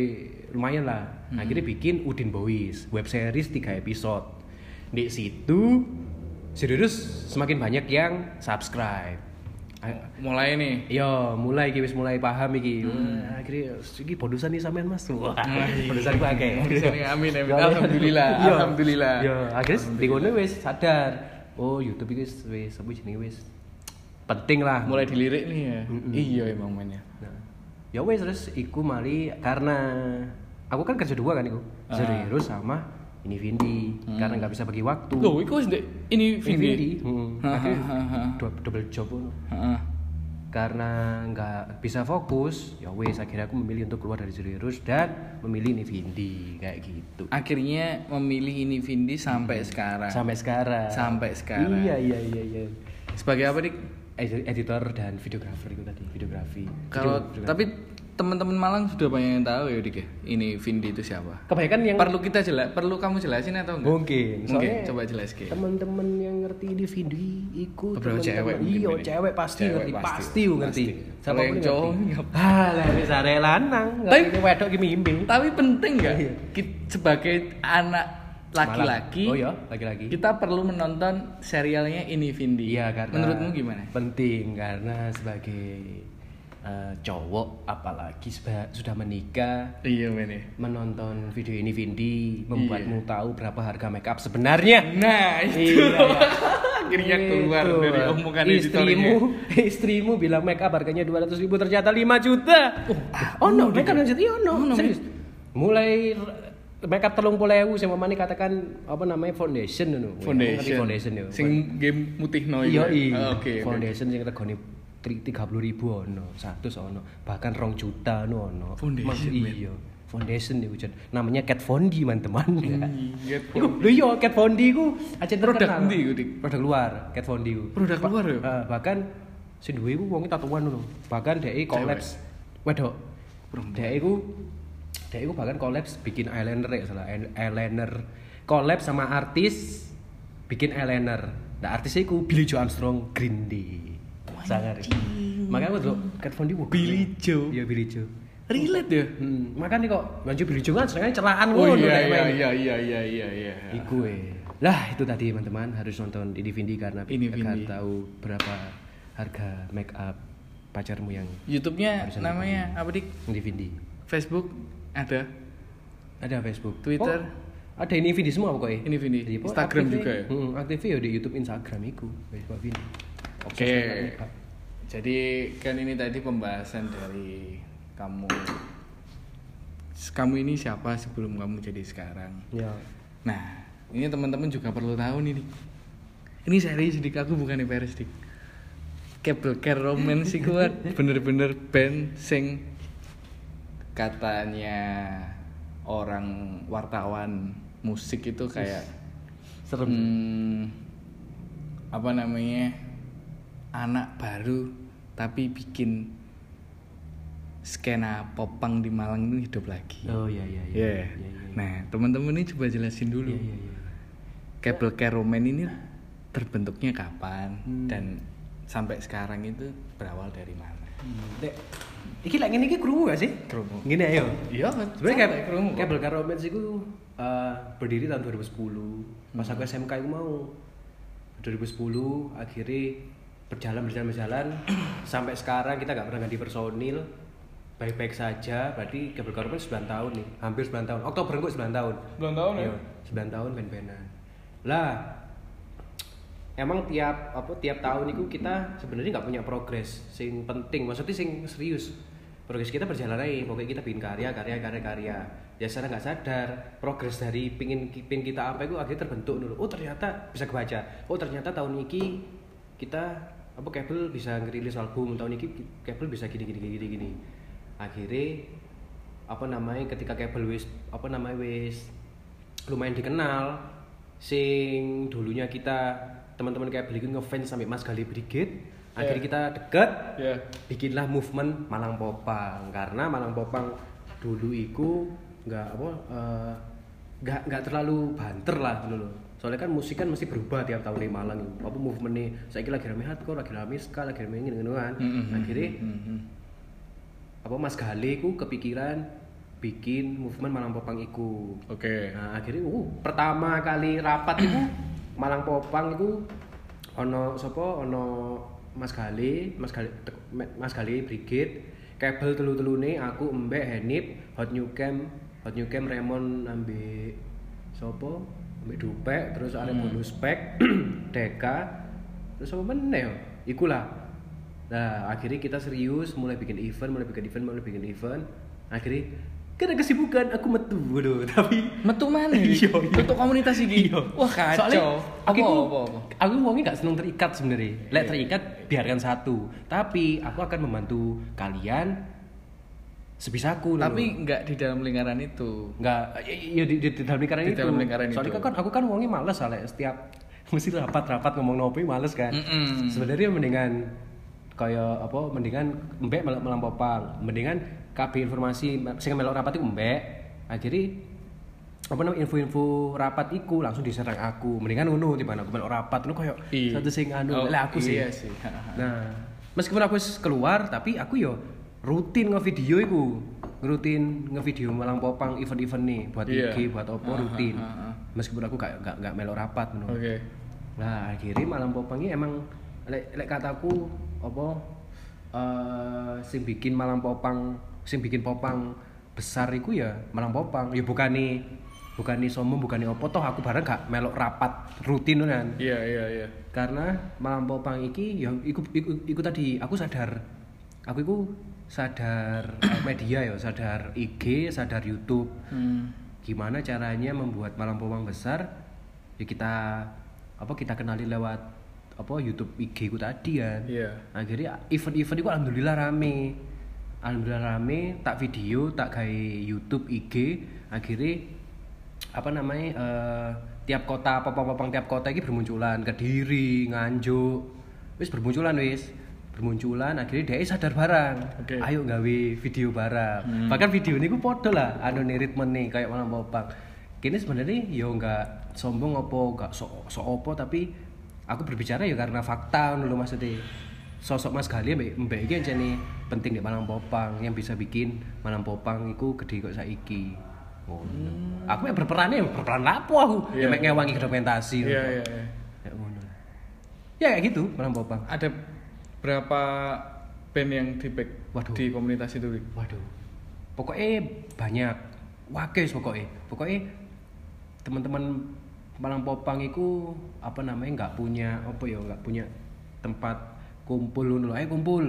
S2: lumayan lah akhirnya bikin Udin Boys web series 3 episode di situ serius semakin banyak yang subscribe A-
S1: Mulai nih.
S2: Yo, Iya, mulai iki wis mulai paham iki. Wah, Akhirnya iki bonusan nih sampean Mas. Hmm. Wah, iya. bonusan ku akeh.
S1: Bonusan iki, amin, amin. Alhamdulillah,
S2: Yo,
S1: alhamdulillah.
S2: Yo, Iya. akhirnya di kono wis sadar. Oh, YouTube iki wis wis apa jenenge wis penting lah.
S1: Mulai dilirik nih ya. Iya emang mainnya.
S2: Nah, ya wes terus iku mari karena aku kan kerja dua kan iku. Serius sama ini Vindi karena nggak bisa bagi waktu.
S1: Loh, itu wis, Dik. ini Vindi.
S2: Hmm,
S1: Ha,
S2: akhirnya
S1: ha, ha, ha.
S2: dou- double job ngono.
S1: Heeh.
S2: karena nggak bisa fokus ya wes akhirnya aku memilih untuk keluar dari Zurus dan memilih Nivindi kayak gitu
S1: Akhirnya memilih ini Vindi sampai sekarang.
S2: sampai sekarang
S1: Sampai sekarang.
S2: iya iya iya iya
S1: Sebagai apa, Dik?
S2: Edi- editor dan videografer itu tadi videografi
S1: Kalau
S2: Video- videografi.
S1: tapi teman-teman Malang sudah banyak yang tahu ya Dik ya. Ini Vindi itu siapa?
S2: Kebanyakan yang
S1: Perlu kita jelas, perlu kamu jelasin atau enggak?
S2: mungkin
S1: Mungkin,
S2: soalnya
S1: coba jelasin.
S2: teman-teman yang ngerti di Vindi ikut
S1: Beberapa cewek mungkin
S2: iya
S1: ini.
S2: cewek pasti
S1: Cewek
S2: ngerti
S1: pasti,
S2: pasti, ngerti
S1: pasti.
S2: Siapa
S1: Kalau yang
S2: pun
S1: cowok, ya.
S2: ngerti.
S1: ngap-
S2: ah lah bisa relanang
S1: Tapi-
S2: ngerti wedok ki mimpi
S1: Tapi penting nggak
S2: Iya.
S1: Ki- sebagai anak laki-laki
S2: oh ya laki-laki
S1: kita perlu menonton serialnya ini Vindi.
S2: Iya karena
S1: Menurutmu gimana?
S2: Penting karena sebagai eh, cowok apalagi seba- sudah menikah
S1: Iya ini.
S2: menonton video ini Vindi membuatmu
S1: Iya.
S2: tahu berapa harga make up sebenarnya.
S1: Nah
S2: Iya,
S1: itu akhirnya keluar
S2: Itu.
S1: dari omongan
S2: Gitu. istrimu,
S1: editornya.
S2: istrimu bilang make up harganya 200 ribu ternyata 5 juta. Oh, no, make up lanjut iya no, serius. Mulai make up telung puluh ewu sing mamane katakan apa namanya foundation ngono.
S1: Foundation.
S2: Iya, foundation yo.
S1: Sing game mutihno
S2: Iya,
S1: itu.
S2: iya.
S1: Oh, Oke. oke.
S2: Foundation sing regane tiga puluh ribu ono, satu ono, bahkan rong juta ono ono. Mas-
S1: Foundation, men.
S2: iya. Foundation ya Ujan. Namanya Cat Fondi teman-teman.
S1: Iya,
S2: Iku lho iya Cat Fondi iku aja
S1: Produk
S2: terkenal.
S1: endi iku, Dik?
S2: Produk luar, Cat Fondi iku.
S1: Produk
S2: Ba-
S1: luar ya?
S2: Eh, bahkan sing duwe iku wong tatuan lho. Bahkan dhek kolaps. Wedok. Dhek iku dhek iku bahkan kolaps bikin eyeliner ya salah Ey- eyeliner. Kolaps sama artis bikin eyeliner. Nah artisnya iku Billy Joe Armstrong Green Day. Sangar. Makanya aku dulu Kat Fondi wah,
S1: Billy
S2: keren.
S1: Joe.
S2: Iya Billy Joe.
S1: Relate ya?
S2: Hmm, makanya kok baju Billy Joe kan sekarang celaan
S1: Oh
S2: ngono, dhek,
S1: iya iya
S2: men.
S1: iya iya iya iya. iya.
S2: Iku eh. Lah itu tadi teman-teman harus nonton Ini Vindi karena
S1: Ini
S2: agar
S1: Vindi.
S2: tahu berapa harga make up pacarmu yang
S1: YouTube-nya
S2: Harus ada
S1: namanya apa dik?
S2: Ini Vindi.
S1: Facebook ada,
S2: Ada Facebook,
S1: Twitter.
S2: Oh, ada Ini Vindi semua pokoknya.
S1: Ini Vindi.
S2: Jadi, pokoknya
S1: Instagram
S2: aktifnya-
S1: juga ya?
S2: Hmm, aktifnya ya di YouTube Instagram iku, Facebook Vindi.
S1: Oke.
S2: Obses tentang make up.
S1: Jadi kan ini tadi pembahasan dari kamu. Kamu ini siapa sebelum kamu jadi sekarang?
S2: Ya.
S1: Nah, ini teman-teman juga perlu tahu nih. Dik. Ini serius dik, aku bukan Paris dik. Cable Care Romance iku kan bener-bener band sing katanya orang wartawan musik itu kayak
S2: Serem.
S1: hmm, apa namanya anak baru tapi bikin skena popang di Malang itu hidup lagi.
S2: Oh iya iya iya.
S1: Iya.
S2: Iya, iya.
S1: Nah, teman-teman ini coba jelasin dulu.
S2: Iya, iya, iya.
S1: Kabel Keromen ini terbentuknya kapan
S2: Hmm.
S1: dan sampai sekarang itu berawal dari mana?
S2: Hmm, Dek. Iki lek ngene iki krungu gak sih?
S1: Krungu.
S2: Ngene ayo.
S1: Iya,
S2: Sebenarnya kabel
S1: kerungu.
S2: kabel Car Romance itu eh, berdiri tahun 2010. Pas aku SMK itu mau 2010 akhirnya berjalan berjalan berjalan sampai sekarang kita nggak pernah ganti personil baik-baik saja berarti kabel Car Romance 9 tahun nih hampir 9 tahun Oktober kok 9 tahun
S1: 9 tahun ya?
S2: Iya, 9 tahun band-bandan lah emang tiap apa tiap tahun itu kita sebenarnya nggak punya progres sing penting maksudnya sing serius progres kita berjalan aja pokoknya kita bikin karya karya karya karya ya secara nggak sadar progres dari pingin pin kita apa itu akhirnya terbentuk dulu oh ternyata bisa kebaca oh ternyata tahun ini kita apa kabel bisa ngerilis album tahun ini kabel bisa gini gini gini gini, gini. akhirnya apa namanya ketika kabel wis apa namanya wis lumayan dikenal sing dulunya kita teman-teman kabel itu ngefans sampai Mas Gali Brigade akhirnya kita deket
S1: Iya.
S2: bikinlah movement Malang Popang karena Malang Popang dulu iku nggak apa eh, nggak nggak terlalu banter lah dulu soalnya kan musik kan mesti berubah tiap tahun di Malang apa movementnya saya kira lagi rame hardcore lagi rame ska lagi rame gini kan akhirnya
S1: Mhm.
S2: apa Mas Gale ku kepikiran bikin movement Malang Popang iku.
S1: Oke.
S2: Nah, akhirnya uh, pertama kali rapat itu Malang Popang itu ono sapa ono Mas Gale, Mas Gale Tek- Mas Gale Brigit, kabel telu-telune aku Mbek Henip, Hot New Camp, Hot New Camp Raymond ambek sapa? Ambek Dupek, terus ada bonus pack, Deka, terus apa meneh yo? Iku lah. Nah, akhirnya kita serius mulai bikin event, mulai bikin event, mulai bikin event. Akhirnya karena kesibukan aku metu, waduh, tapi
S1: Metu mana?
S2: Iya,
S1: Dik?
S2: iya.
S1: Untuk komunitas iki. Wah kacau.
S2: Soalnya aku
S1: apa,
S2: iku-
S1: apa, apa? Iya.
S2: aku wongnya gak seneng terikat sebenarnya. Lek terikat biarkan satu, tapi aku akan membantu kalian sebisaku.
S1: Tapi nggak di dalam lingkaran itu.
S2: nggak ya di, di, di dalam lingkaran
S1: Di
S2: itu.
S1: dalam lingkaran
S2: Soalnya
S1: itu.
S2: kan aku kan wongnya males soalnya setiap mesti rapat-rapat ngomong nopi males kan.
S1: Mm-mm.
S2: Sebenarnya mendingan kayak apa mendingan mbek mel- melampopang, mendingan KB informasi sing melok rapat iku mbek akhirnya apa namanya info-info rapat iku langsung diserang aku mendingan ngono tiba aku melok rapat lu koyo
S1: Iya.
S2: satu sing anu
S1: Oh,
S2: lah aku sih
S1: iya sih.
S2: Nah, meskipun aku wis keluar tapi aku yo rutin ngevideo iku. Rutin ngevideo Malang Popang event-event nih buat
S1: Iya.
S2: IG, buat opo
S1: Ah,
S2: rutin.
S1: ah, ah, ah.
S2: Meskipun aku gak gak, gak melok rapat ngono.
S1: Oke.
S2: Nah, akhirnya Malang Popang ini emang lek lek kataku apa eh sing bikin Malang Popang, sing bikin Popang besar iku ya Malang Popang. Ya bukane bukane sombong, bukane opo toh aku bareng gak melok rapat rutin ngono kan
S1: Iya, iya, iya.
S2: karena malam popang iki ya iku, iku, iku tadi aku sadar aku iku sadar eh, media ya sadar IG sadar YouTube
S1: Hmm.
S2: gimana caranya membuat malam popang besar ya kita apa kita kenali lewat apa YouTube IG ku tadi kan
S1: Iya.
S2: akhirnya event-event itu alhamdulillah rame alhamdulillah rame tak video tak kayak YouTube IG akhirnya apa namanya eh, tiap kota popang-popang tiap kota ini bermunculan kediri nganjuk wis bermunculan wis bermunculan akhirnya dia sadar barang
S1: Oke.
S2: ayo gawe video barang
S1: Hmm.
S2: bahkan video ini gue podo lah anu nih ritme nih kayak malam popang kini sebenarnya yo nggak sombong opo nggak sok sok opo tapi aku berbicara ya karena fakta dulu maksudnya sosok Mas Gali mbak mbak iki aja nih penting di Malang Popang yang bisa bikin Malang Popang itu gede kok saiki oh, aku yang berperannya yang berperan lapo aku
S1: Hmm. Iya.
S2: yang mek ngewangi dokumentasi
S1: Iya, iya, iya.
S2: ya ngono ya kayak gitu Malang Popang
S1: Ada berapa band yang di back
S2: Waduh.
S1: di komunitas itu? Rik?
S2: Waduh. Pokoknya banyak. Wakil pokoknya. Pokoknya teman-teman Malang Popang itu apa namanya nggak punya apa ya nggak punya tempat kumpul ngono lho. Ayo kumpul.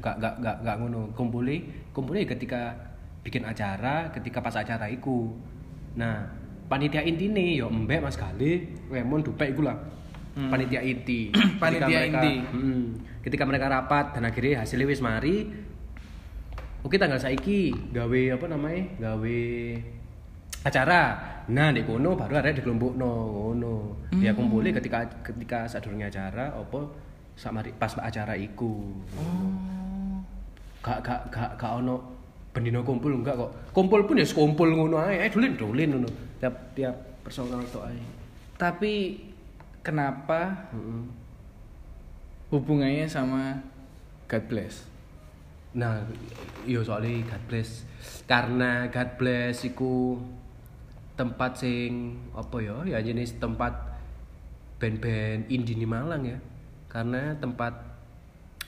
S2: Nggak nggak nggak nggak ngono. Kumpulnya kumpulnya ketika bikin acara, ketika pas acara iku. Nah, panitia intine ya Mbak Mas Galih, Remon Dupek iku lah. Panitia inti. Ketika
S1: Hmm. Panitia inti.
S2: Mm, ketika mereka rapat dan akhirnya hasilnya wis mari, Oke tanggal saiki gawe apa namanya? gawe acara. Nah, di kono baru ada di kelompok ngono. Dia kumpulin ketika ketika sadurunge acara apa sama pas acara iku. Gak gak gak gak ono bendino kumpul enggak kok. Kumpul pun ya sekumpul ngono ae. Eh dolin dolin ngono. Tiap tiap personal tok ae.
S1: Tapi kenapa
S2: Heeh.
S1: hubungannya sama God Bless?
S2: Nah, yo soalnya God bless karena God bless iku tempat sing apa ya ya jenis tempat band-band indie di Malang ya karena tempat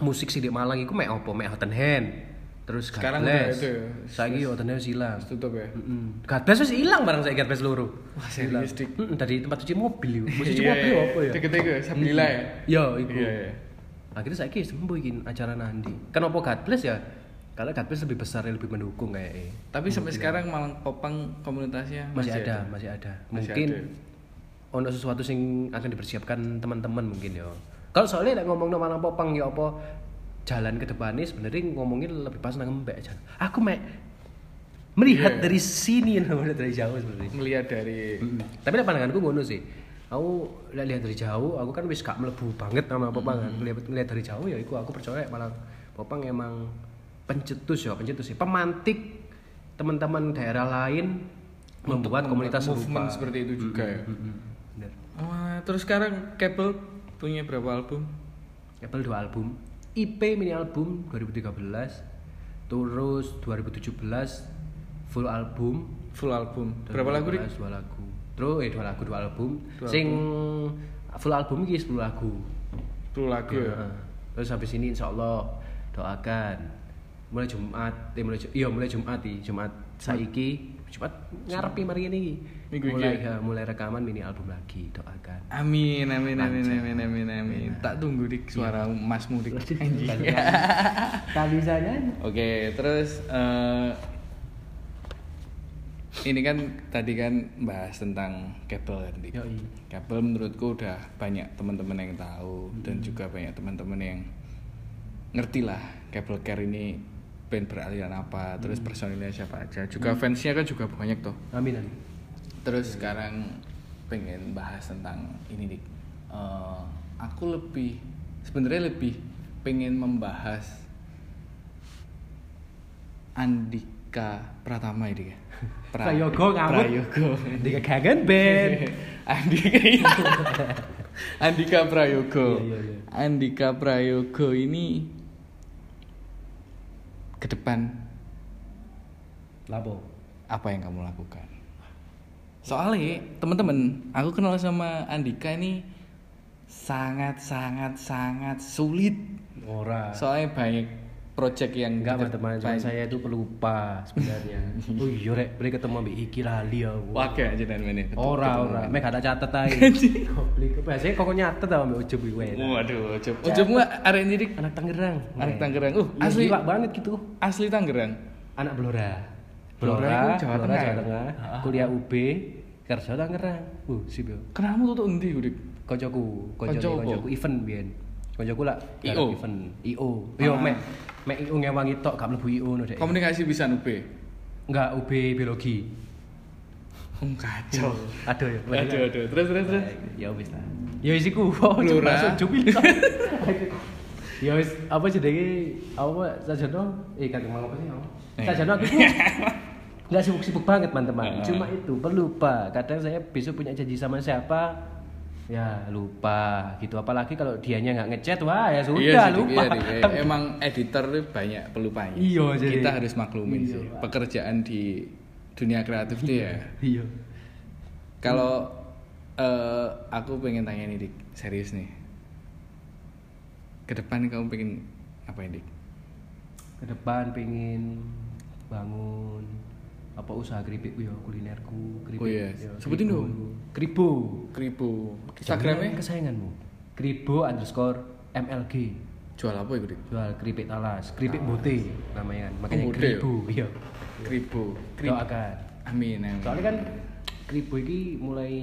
S2: musik sih di Malang iku mek apa mek Hot and Hand terus God
S1: Sekarang udah
S2: bless
S1: itu ya,
S2: saiki Hot and Hand wis ilang
S1: Tutup ya.
S2: Mm-mm. God bless wis ilang bareng saya God bless loro
S1: Wah, serius, Dik.
S2: Mm-mm, dari tempat cuci mobil yuk cuci
S1: Iya,
S2: mobil
S1: iya.
S2: apa ya
S1: Tiga-tiga, Sabila ya?
S2: ya iku
S1: Iya, iya.
S2: akhirnya saya kira sembuh ikin acara nanti kenapa God Bless ya karena God Bless lebih besar lebih mendukung kayaknya
S1: Tapi sampai sekarang Malang Popang komunitasnya
S2: Hmm. masih, ada, masih ada mungkin ono sesuatu sing akan dipersiapkan teman-teman mungkin ya kalau soalnya like, ngomong nama popang ya apa jalan ke depannya sebenarnya ngomongin lebih pas nang mbak aja aku mek melihat dari sini you know, dari jauh sebenarnya
S1: melihat dari
S2: tapi lek pandanganku ngono sih aku lek lihat dari jauh aku kan wis gak melebu banget sama Popang
S1: Hmm.
S2: kan Lihat- lihat dari jauh ya iku aku percaya malah Popang emang pencetus ya pencetus sih pemantik teman-teman daerah lain membuat komunitas serupa.
S1: movement
S2: Hmm.
S1: seperti itu juga ya.
S2: Mm-mm, bener.
S1: Wah, Eh, terus sekarang Cable punya berapa album?
S2: Apple dua album IP mini album 2013 terus 2017 full album
S1: Full album. Berapa lagu, Rik?
S2: 2018, Dua lagu. Terus eh dua lagu dua album. Sing full album iki 10 lagu.
S1: 10 lagu ya.
S2: Heeh. Terus habis ini insya Allah doakan mulai Jumat, eh, mulai Ju- iya mulai Jumat iki, Jumat saiki Jumat ngarepi mari ini iki.
S1: Minggu iki.
S2: mulai ya, mulai rekaman mini album lagi doakan.
S1: Amin, amin, amin, amin, amin, amin. Tak tunggu dik suara Mas Mudik. Anjing.
S2: Kali sana
S1: Oke, terus eh, ini kan tadi kan bahas tentang kabel kan, Dik.
S2: Yoi.
S1: Kabel menurutku udah banyak teman-teman yang tahu dan juga banyak teman-teman yang ngerti lah kabel care ini band beraliran apa, terus personilnya siapa aja. Juga fansnya kan juga banyak tuh.
S2: Amin amin.
S1: Terus sekarang pengen bahas tentang ini dik. Eh, aku lebih sebenarnya lebih pengen membahas Andika Pratama ini ya. Pra-
S2: Prayogo ngawur.
S1: Prayogo.
S2: Andika kangen band.
S1: Andika iya. Andika Prayogo.
S2: Iya, iya, iya.
S1: Andika Prayogo ini ke depan
S2: Lapo.
S1: apa yang kamu lakukan? Soalnya teman-teman, aku kenal sama Andika ini sangat sangat sangat sulit.
S2: Ora.
S1: Soalnya banyak project
S2: Ah.
S1: yang
S2: Enggak
S1: kita-
S2: teman-teman cuma
S1: banyak-
S2: saya itu pelupa sebenarnya. oh iya rek, mereka ketemu ambek iki lali aku.
S1: Wage aja dan ini.
S2: Ora ora, mek gak tak catet ae. Goblok. Biasanya kok nyatet tau ambek ujub iku enak.
S1: Waduh, ujub. Ujub gua arek ini
S2: Anak Tangerang.
S1: arek Tangerang. Uh,
S2: Iya,
S1: asli
S2: gila banget gitu.
S1: asli Tangerang.
S2: Anak Blora.
S1: Blora
S2: Blora,
S1: itu Jawa
S2: Blora,
S1: Tengah ya?
S2: Tengah. Ah. Kuliah UB, kerja Tangerang. Uh, sip yo.
S1: Kenapa tuh tuh endi, Udik?
S2: Kocoku,
S1: Koncoku.
S2: kocoku, kocoku event biyen. Kocoku lah
S1: I.O.
S2: garap event. IO. Yo
S1: Ah.
S2: mek mek IO ngewangi tok gak mlebu IO no dek.
S1: Komunikasi bisa nube.
S2: Enggak UB biologi.
S1: Um, kacau.
S2: Aduh ya.
S1: Aduh aduh, terus terus terus.
S2: Ya wis lah. Ya wis iku. Wow,
S1: Blora.
S2: coba langsung jupil. Ya wis apa jenenge apa sajana eh kagak mau apa sih apa?
S1: Eh.
S2: Sajana aku Enggak sibuk-sibuk banget teman-teman.
S1: Ah.
S2: Cuma itu pelupa. Kadang saya besok punya janji sama siapa ya lupa gitu apalagi kalau dianya nggak ngechat wah ya sudah
S1: Iya sih, Dik,
S2: lupa
S1: iya, Dik. Emang editor tuh banyak pelupanya.
S2: Iya, jadi-
S1: Kita harus maklumin
S2: Iya,
S1: sih.
S2: Pak.
S1: Pekerjaan di dunia kreatif tuh ya.
S2: iya Hmm.
S1: Kalau eh, aku pengen tanya nih, Dik. Serius nih. Ke depan kamu pengen apa ya, Dik?
S2: ke depan pengen bangun apa usaha keripik yo kulinerku keripik
S1: Oh, iya.
S2: yo,
S1: Sebutin
S2: keripik.
S1: dong.
S2: kribo
S1: Kribo.
S2: Jangan
S1: Instagramnya
S2: kesayanganmu kribo underscore mlg
S1: jual apa ya, Dik?
S2: jual keripik talas keripik bote namanya kan makanya
S1: bote,
S2: kribo yo
S1: Kribo. Kribo.
S2: doakan
S1: Amin, amin.
S2: soalnya kan kribo ini mulai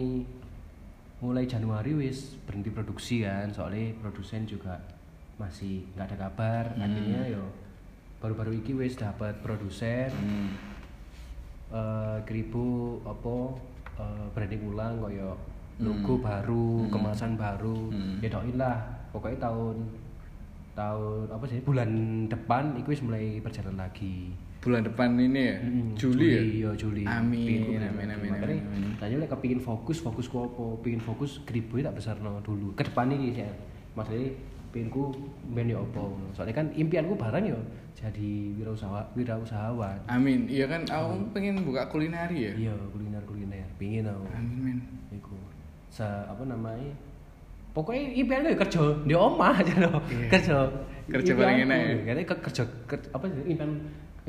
S2: mulai Januari wis berhenti produksi kan soalnya produsen juga masih nggak ada kabar
S1: Hmm.
S2: akhirnya yo baru-baru ini wis dapat produsen
S1: Hmm.
S2: eh kribo apa eh, branding ulang koyo logo baru kemasan baru
S1: Hmm.
S2: ya doain lah pokoknya tahun tahun apa sih bulan depan itu wis mulai berjalan lagi
S1: Bulan depan ini ya,
S2: Mm,
S1: Juli, ya.
S2: ya Juli. Pengen ku
S1: Amin, amin,
S2: bilang
S1: amin,
S2: gitu.
S1: amin,
S2: Makanya,
S1: amin.
S2: tanya lek kepingin fokus, fokus ku apa? Pengin fokus kriboe tak besarno dulu. Ke depan iki sih. Maksudnya pengin ku ben yo apa. Soalnya kan impianku barang yo jadi wirausaha wirausahawan.
S1: Amin. Iya kan,
S2: Hmm.
S1: aku pengen buka kulinari ya.
S2: Iya, kuliner-kuliner. Pengin aku.
S1: Amin, men.
S2: Iku. Se apa namanya? Pokoknya impian lu kerja di omah aja lo.
S1: Iya.
S2: Kerja.
S1: Kerja
S2: Impianku,
S1: paling enak ya.
S2: Karena Iya, ke- kerja, kerja apa sih impian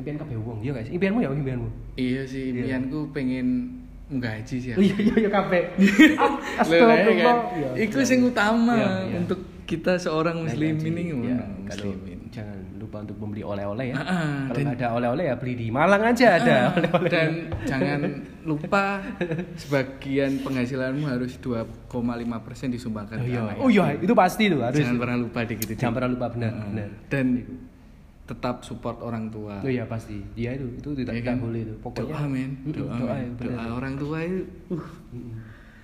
S2: impian kabeh wong. Iya guys, impianmu ya impianmu.
S1: Iya
S2: Iya.
S1: sih, impianku pengen menggaji sih. aku.
S2: Iya iya iya kabeh.
S1: Lho, lah, ya kan? Iku sing utama
S2: Iya, iya.
S1: untuk kita seorang muslim ini ngono, Hmm, muslimin.
S2: muslimin. Iya, Jangan lupa untuk membeli oleh-oleh ya.
S1: Ah, ah,
S2: Kalau
S1: dan-
S2: nggak ada oleh-oleh ya beli di Malang aja ada
S1: Ah,
S2: oleh-oleh.
S1: Dan jangan lupa sebagian penghasilanmu harus 2,5% disumbangkan
S2: Oh
S1: ke
S2: iya,
S1: anak
S2: oh iya, itu pasti tuh harus.
S1: Jangan pernah lupa Ah. dikit itu.
S2: Jangan pernah lupa benar, benar.
S1: Dan tetap support orang tua.
S2: Oh iya pasti. Dia itu itu tidak
S1: Ya
S2: tidak
S1: kan?
S2: boleh itu. Pokoknya
S1: doa men,
S2: Mm-mm,
S1: doa,
S2: doa,
S1: men.
S2: ya, benar.
S1: doa orang tua itu. Uh,
S2: Mm-mm.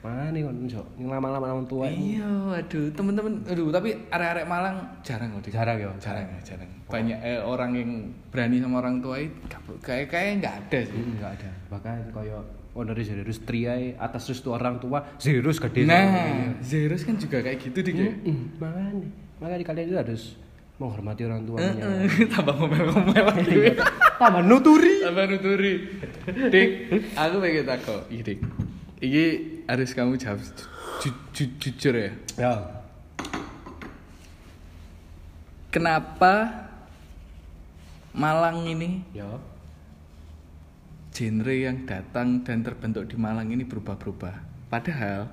S2: Mana kon njok? Yang lama-lama orang tua. itu.
S1: iya, aduh, temen-temen, aduh, tapi arek-arek Malang jarang loh. Dik.
S2: Jarang ya,
S1: jarang, ya, jarang. Banyak eh, orang yang berani sama orang tua itu nggak- kayak kayak nggak ada sih.
S2: Mm, nggak ada. Bahkan koyo onere Zerus triai atas restu orang tua, Zerus gede.
S1: Nah, Zerus kan juga kayak gitu dik ya.
S2: Mm, makanya makanya kalian itu harus menghormati orang tuanya
S1: Eh, eh, tambah ngomel-ngomel lagi.
S2: iya. tambah nuturi
S1: tambah nuturi. Dik, aku pengen takut. Iya, Dik. Ini harus kamu jawab ju- ju- jujur ya.
S2: ya
S1: Kenapa Malang ini
S2: ya
S1: genre yang datang dan terbentuk di Malang ini berubah-berubah. Padahal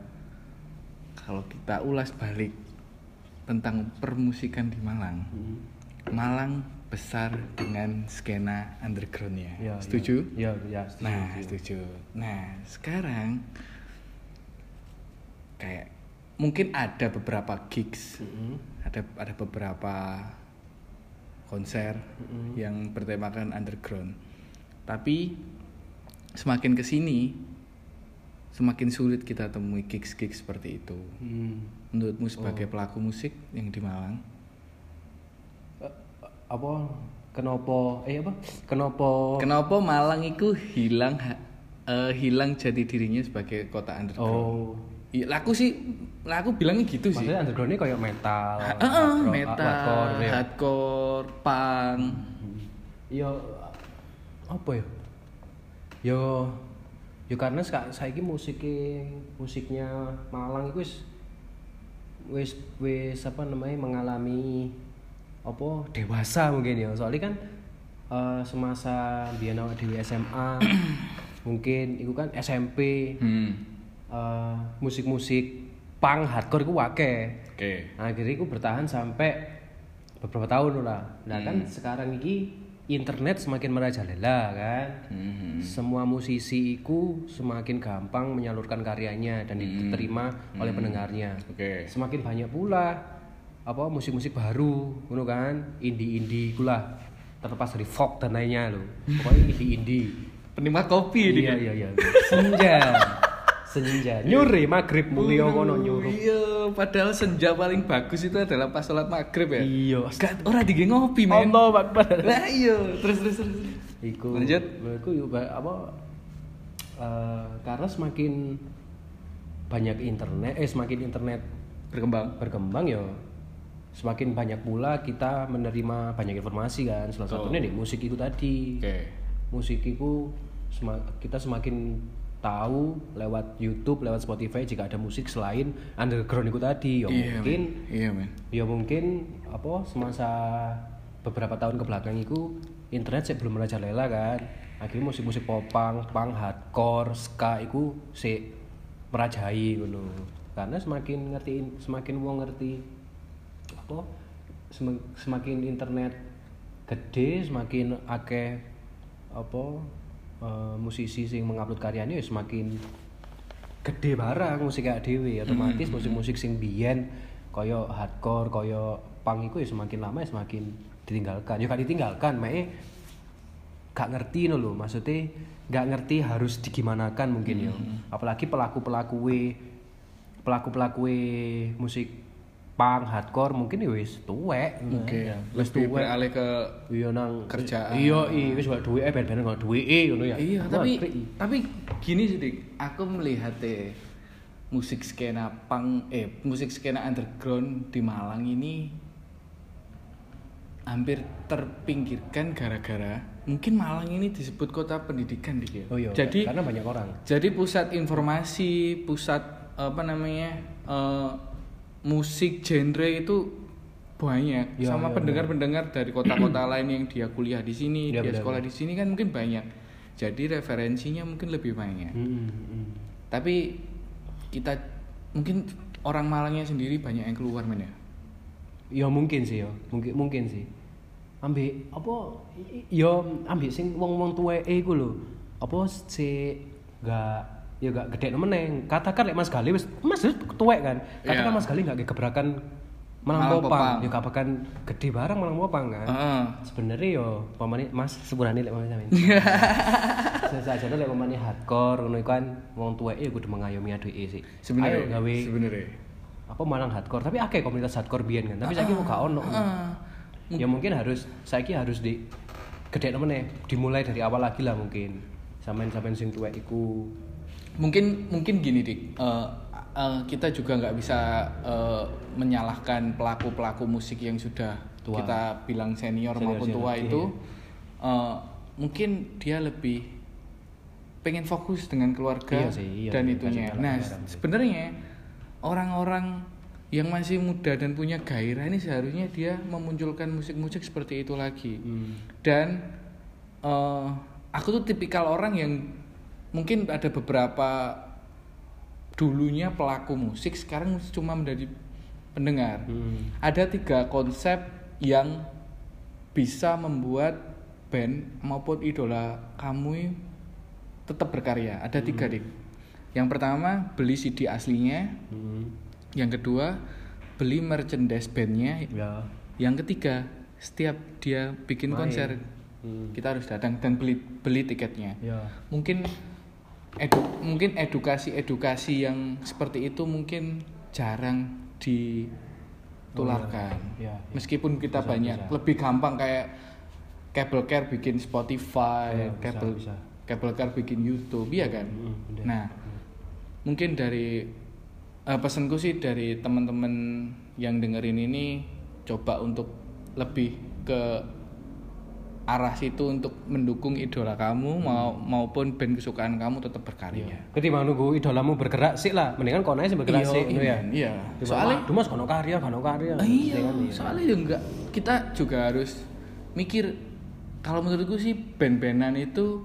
S1: kalau kita ulas balik tentang permusikan di Malang, Malang besar dengan skena undergroundnya.
S2: ya
S1: Setuju?
S2: ya ya, setuju,
S1: Nah,
S2: setuju.
S1: setuju. Nah, sekarang kayak mungkin ada beberapa gigs,
S2: Mm-mm.
S1: ada ada beberapa konser yang bertemakan underground. Tapi semakin kesini semakin sulit kita temui gigs-gigs seperti itu.
S2: Hmm.
S1: Oh. Menurutmu sebagai pelaku musik yang di Malang,
S2: Eh, eh, apa Kenopo eh apa? Kenopo
S1: Kenapa Malang itu hilang ha- eh, hilang jati dirinya sebagai kota underground?
S2: Oh.
S1: Ya, aku sih, lah aku bilangnya gitu sih.
S2: Maksudnya underground ini kayak metal,
S1: Ah, ah, ah,
S2: hard rock,
S1: metal,
S2: hardcore gitu ya.
S1: hardcore, punk.
S2: Yo Iya, apa ya? Yo yo karena saya saiki musiknya musiknya Malang itu wis wis wis apa namanya mengalami apa dewasa mungkin ya. Soalnya kan eh, semasa biyen awak dhewe SMA mungkin itu kan SMP
S1: Hmm.
S2: eh, musik-musik punk hardcore itu wakeh.
S1: Oke.
S2: akhirnya aku bertahan sampai beberapa tahun lah nah kan
S1: Hmm.
S2: sekarang ini internet semakin merajalela kan
S1: Hmm.
S2: semua musisi itu semakin gampang menyalurkan karyanya dan diterima oleh pendengarnya
S1: Hmm. Oke.
S2: semakin banyak pula apa musik-musik baru ngono kan indie-indie pula terlepas dari folk dan lainnya loh pokoknya indie-indie
S1: Penikmat kopi ini.
S2: iya iya iya senja senja nyuri maghrib mulio kono nyuruh
S1: Iya, padahal senja paling bagus itu adalah pas sholat maghrib ya.
S2: iya
S1: Gak, orang dingin ngopi men.
S2: Allah Akbar
S1: Lah iya, terus terus terus.
S2: Iku,
S1: Lanjut.
S2: Iku yo ba- apa? eh, karena semakin banyak internet, eh semakin internet
S1: Berkembang.
S2: berkembang ya semakin banyak pula kita menerima banyak informasi kan. Salah satunya nih musik itu tadi.
S1: Oke.
S2: Musik itu sema- kita semakin tahu lewat YouTube, lewat Spotify jika ada musik selain underground itu tadi. Ya
S1: Iya,
S2: mungkin
S1: men. Iya, men.
S2: ya mungkin apa semasa beberapa tahun ke belakang itu internet sih belum merajalela kan akhirnya musik-musik popang, punk, hardcore, ska itu sih merajai gitu karena semakin ngerti semakin wong ngerti apa sem- semakin internet gede semakin akeh apa eh, musisi sing mengupload karyanya ya semakin gede barang musik kayak dewe otomatis
S1: Hmm,
S2: musik-musik sing biyen koyo hardcore koyo punk iku ya semakin lama ya semakin ditinggalkan ya gak ditinggalkan mae gak ngerti no lho maksudnya gak ngerti harus digimanakan mungkin yo
S1: Hmm,
S2: apalagi pelaku-pelaku e, pelaku-pelaku e musik punk hardcore mungkin ya wis tuwek ngono
S1: Oke.
S2: ya. wis
S1: Lebih
S2: tuwek
S1: beralih ke
S2: iya nang
S1: Kerjaan.
S2: iya iya wis gak duwe ben-ben gak duwe ngono ya
S1: Iya,
S2: Wah,
S1: tapi
S2: krik.
S1: tapi gini sih, Dik. aku melihat eh, musik skena punk eh musik skena underground di Malang ini hampir terpinggirkan gara-gara mungkin Malang ini disebut kota pendidikan Dik, ya.
S2: oh iya
S1: Jadi
S2: karena banyak orang
S1: jadi pusat informasi, pusat apa namanya? eh, musik genre itu banyak
S2: Ya, ya,
S1: sama pendengar-pendengar dari kota-kota lain yang dia kuliah di sini,
S2: Ya,
S1: dia
S2: benar,
S1: sekolah di sini kan mungkin banyak. Jadi referensinya mungkin lebih banyak.
S2: Hmm, hmm.
S1: Tapi kita mungkin orang Malangnya sendiri banyak yang keluar men ya.
S2: Ya mungkin sih ya, mungkin mungkin sih. Ambek apa i- i- ya ambek sing wong-wong tuweke iku lho. Apa sik gak ya gak gede meneng. Katakan lek Mas Gali wis Mas wis tuwek kan. Katakan
S1: Iya.
S2: Mas Gali gak gebrakan
S1: Malang
S2: Malang Popang,
S1: Popang.
S2: ya gak bakal gede barang Malang Popang kan.
S1: Heeh.
S2: Sebenarnya yo pamane Mas sepurane lek pamane. Saja lek pamane hardcore ngono iku kan wong tuweke kudu mengayomi adeke sih.
S1: Sebenarnya
S2: Ayo gawe
S1: sebenarnya.
S2: apa Malang hardcore, tapi akeh komunitas hardcore biyen kan. Tapi saiki
S1: Ah,
S2: mau gak ono.
S1: Heeh.
S2: ya
S1: Iya.
S2: mungkin harus saiki harus di gede temennya dimulai dari awal lagi lah mungkin samain samain sing tuwek iku
S1: mungkin mungkin gini dik Eh, eh, kita juga nggak bisa eh, menyalahkan pelaku pelaku musik yang sudah
S2: Tua.
S1: kita bilang
S2: Senior,
S1: senior,
S2: Iya.
S1: maupun tua
S2: senior,
S1: itu Eh, mungkin dia lebih pengen fokus dengan
S2: Iya
S1: keluarga
S2: sih, iya, iya,
S1: dan itunya
S2: kasih
S1: nah
S2: pelajaran sih.
S1: sebenarnya orang-orang yang masih muda dan punya gairah ini seharusnya dia memunculkan musik-musik seperti itu lagi
S2: Hmm.
S1: dan eh, aku tuh tipikal orang yang mungkin ada beberapa dulunya pelaku musik sekarang cuma menjadi pendengar
S2: Hmm.
S1: ada tiga konsep yang bisa membuat band maupun idola kamu tetap berkarya ada tiga dik yang pertama beli CD aslinya
S2: hmm.
S1: yang kedua beli merchandise bandnya
S2: ya
S1: yang ketiga setiap dia bikin
S2: Main.
S1: konser
S2: Hmm.
S1: kita harus datang dan beli beli tiketnya
S2: ya
S1: mungkin edu- mungkin edukasi edukasi yang seperti itu mungkin jarang ditularkan
S2: Oh, iya. Iya, iya.
S1: meskipun kita banyak lebih gampang kayak Cable Care bikin
S2: Ya,
S1: Spotify,
S2: bisa,
S1: Cable
S2: bisa.
S1: Cable Care bikin YouTube, iya kan?
S2: Mm, bener.
S1: Nah, mungkin dari eh, pesanku sih dari teman-teman yang dengerin ini coba untuk lebih ke arah situ untuk mendukung idola kamu mau
S2: Hmm.
S1: maupun band kesukaan kamu tetap
S2: Iya.
S1: berkarya.
S2: Ketimbang nunggu idolamu bergerak sih lah, mendingan kono aja bergerak sih gitu ya.
S1: iya. iya. iya.
S2: Soalnya
S1: Soalnya
S2: cuma kono karya, kono karya.
S1: Ah, iya,
S2: Mendingan ya.
S1: soalnya juga enggak kita juga harus mikir kalau menurutku sih band-bandan itu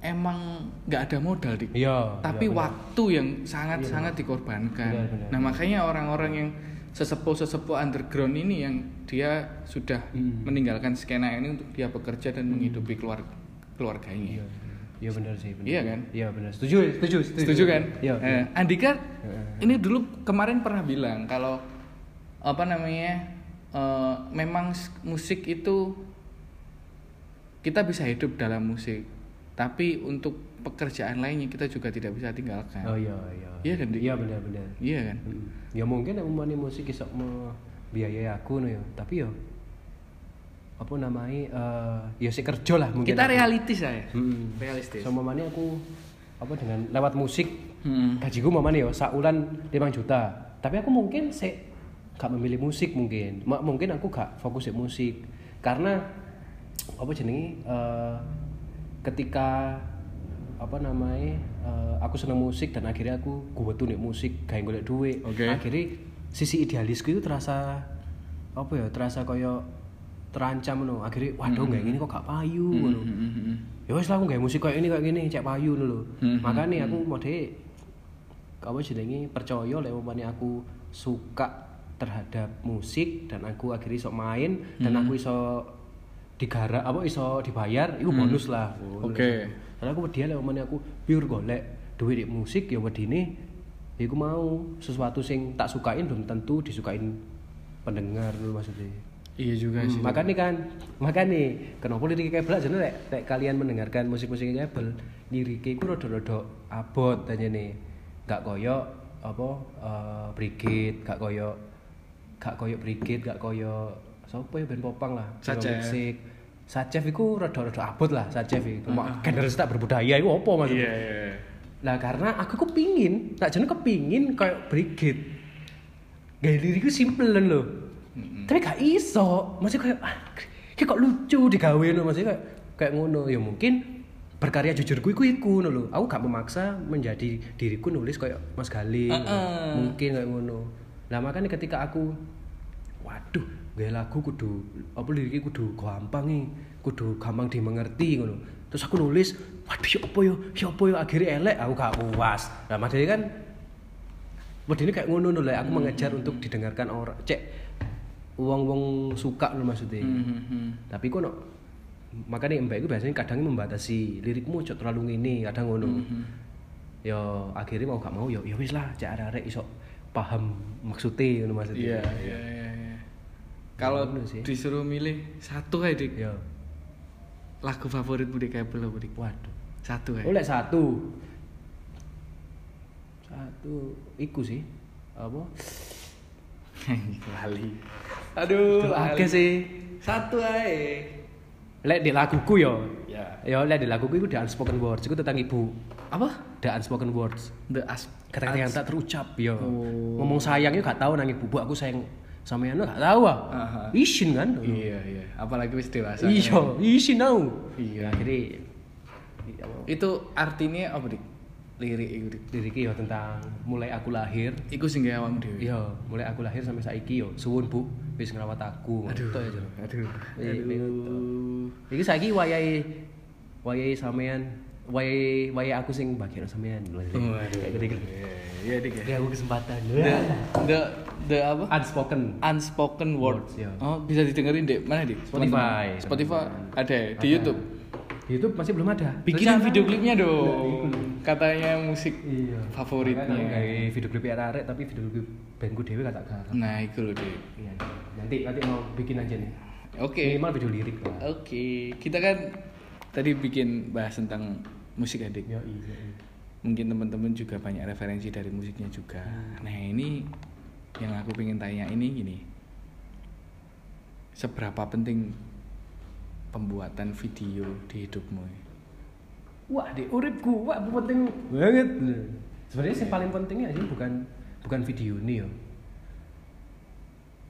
S1: emang nggak ada modal di
S2: Iya. iya,
S1: tapi
S2: bener.
S1: waktu yang sangat-sangat dikorbankan.
S2: Benar, benar.
S1: Nah, makanya orang-orang yang sesepuh-sesepuh underground ini yang dia sudah
S2: Hmm.
S1: meninggalkan skena ini untuk dia bekerja dan menghidupi keluarga keluarganya.
S2: Iya. Iya benar sih. bener.
S1: Iya kan?
S2: Iya benar. Setuju, setuju, setuju.
S1: Setuju kan?
S2: Iya.
S1: Eh, Andika
S2: Iya.
S1: ini dulu kemarin pernah bilang kalau apa namanya? eh, memang s- musik itu kita bisa hidup dalam musik, tapi untuk pekerjaan lainnya kita juga tidak bisa tinggalkan.
S2: Oh iya, iya.
S1: Iya kan, Dik?
S2: Iya benar, benar.
S1: Iya kan?
S2: Mm. Ya mungkin nek umpamane musik iso membiayai aku no ya, tapi yo apa namanya eh ya sik kerja lah mungkin.
S1: Kita ya. realistis aja.
S2: Hmm.
S1: Realistis.
S2: So mamane aku apa dengan lewat musik
S1: Hmm.
S2: gajiku mamane yo saulan 5 juta. Tapi aku mungkin sik gak memilih musik mungkin. Ma- mungkin aku gak fokus di musik karena apa jenenge eh, ketika apa namanya eh, aku seneng musik dan akhirnya aku gue tuh musik gak golek duit
S1: Oke.
S2: akhirnya sisi idealisku itu terasa apa ya terasa koyo terancam no akhirnya waduh
S1: Hmm.
S2: kayak gini kok gak payu ngono ya wes lah aku nggak musik kayak ini kayak gini cek payu dulu
S1: Hmm,
S2: makanya aku mau deh kamu jenengi percaya lah umpamanya aku suka terhadap musik dan aku akhirnya iso main dan
S1: Hmm.
S2: aku iso digarap apa iso dibayar itu bonus lah
S1: Hmm. Oke.
S2: karena aku wedi lah umpamanya aku pure golek duit di musik ya wedine ya aku mau sesuatu sing tak sukain belum tentu disukain pendengar dulu maksudnya
S1: Iya juga sih.
S2: Hmm, makanya kan, makanya kenapa liriknya kabel aja nek, nek kalian mendengarkan musik-musik kabel, liriknya itu rodo-rodo abot aja nih, gak koyo apa eh brigit, gak koyo gak koyo brigit, gak koyo siapa ya band popang lah,
S1: Sacef.
S2: Musik. Sacef itu rodo-rodo abot lah, Sacef itu. Mak generasi tak berbudaya itu apa maksudnya?
S1: Iya, iya.
S2: Lah karena aku kepingin, tak jenuh kepingin kayak brigit. Gaya lirikku simple lho. Tapi gak iso, maksudnya kayak ah, kayak kok lucu digawe lho maksudnya kayak kayak ngono ya mungkin berkarya jujurku iku iku ngono lho. Aku gak memaksa menjadi diriku nulis kayak Mas Galih.
S1: Heeh.
S2: Mungkin kayak ngono. Lah makanya ketika aku waduh, gaya lagu kudu apa liriknya kudu gampang nih, kudu gampang dimengerti ngono. Terus aku nulis, waduh ya apa ya, ya apa ya akhirnya elek, aku gak puas. Nah, makanya kan Wedine kayak ngono lho, aku mengejar untuk didengarkan orang. Cek wong-wong suka lho maksudnya.
S1: Hmm,
S2: Tapi kok no, makanya mbak itu biasanya kadang membatasi lirikmu cok terlalu ngene, kadang ngono.
S1: Mhm.
S2: Ya akhirnya mau gak mau ya ya wis lah, cek arek-arek iso paham maksudnya ngono maksudnya.
S1: Iya, iya, iya. iya. Kalau
S2: Bener sih.
S1: disuruh milih satu aja Dik.
S2: Ya.
S1: lagu favoritmu di kabel apa Dik?
S2: Waduh. Oh,
S1: Satu aja.
S2: Oleh satu. Satu iku sih. Apa?
S1: Lali. Aduh,
S2: Itu
S1: lali.
S2: akeh sih.
S1: Satu aja.
S2: Lek di laguku yo.
S1: Ya.
S2: Ya lek di laguku iku The Unspoken Words, iku tentang ibu.
S1: Apa?
S2: The Unspoken Words.
S1: The as
S2: kata-kata yang tak terucap ya
S1: Oh.
S2: ngomong sayang itu gak tahu nang ibu Bu, aku sayang sama Yana gak tahu ah
S1: Aha.
S2: isin kan
S1: Iya, iya. Apalagi wis dewasa.
S2: iya isin tau
S1: Iya.
S2: akhirnya ya,
S1: Itu artinya apa Dik? Lirik itu Dik.
S2: liriknya ya tentang mulai aku lahir
S1: Iku sing gawe awakmu dhewe.
S2: ya mulai aku lahir sampai saiki yo suwun bu wis ngerawat aku
S1: Aduh.
S2: Itu aja.
S1: ya, Aduh.
S2: Iya, iya, betul.
S1: Aduh.
S2: iki saiki wayahe wayahe sampean wayahe wayahe aku sing bagian sampean
S1: Waduh.
S2: Kayak gitu-gitu.
S1: Iya, Dik. ya.
S2: Beri aku kesempatan
S1: The the the apa?
S2: unspoken
S1: Unspoken words.
S2: Words, ya.
S1: Oh, bisa didengerin Dek. Mana Dek?
S2: Spotify.
S1: Teman-teman. Spotify ada ya? di YouTube.
S2: Di YouTube masih belum ada.
S1: Bikinin
S2: Rencana.
S1: video klipnya dong. Katanya musik
S2: Iya. Makanya
S1: favoritnya. iya.
S2: kayak video klip ya arek tapi video klip bandku dewe gak tak garap.
S1: Nah, itu loh Dek.
S2: Iya. Nanti nanti mau bikin aja nih.
S1: Oke.
S2: Minimal video lirik lah.
S1: Oke, kita kan tadi bikin bahas tentang musik adik.
S2: Yo iya. iya.
S1: Mungkin teman-teman juga banyak referensi dari musiknya juga. Nah ini yang aku pengen tanya ini gini, seberapa penting pembuatan video di hidupmu?
S2: wah di uripku wah aku penting banget sebenarnya yang paling pentingnya aja bukan bukan video ini yo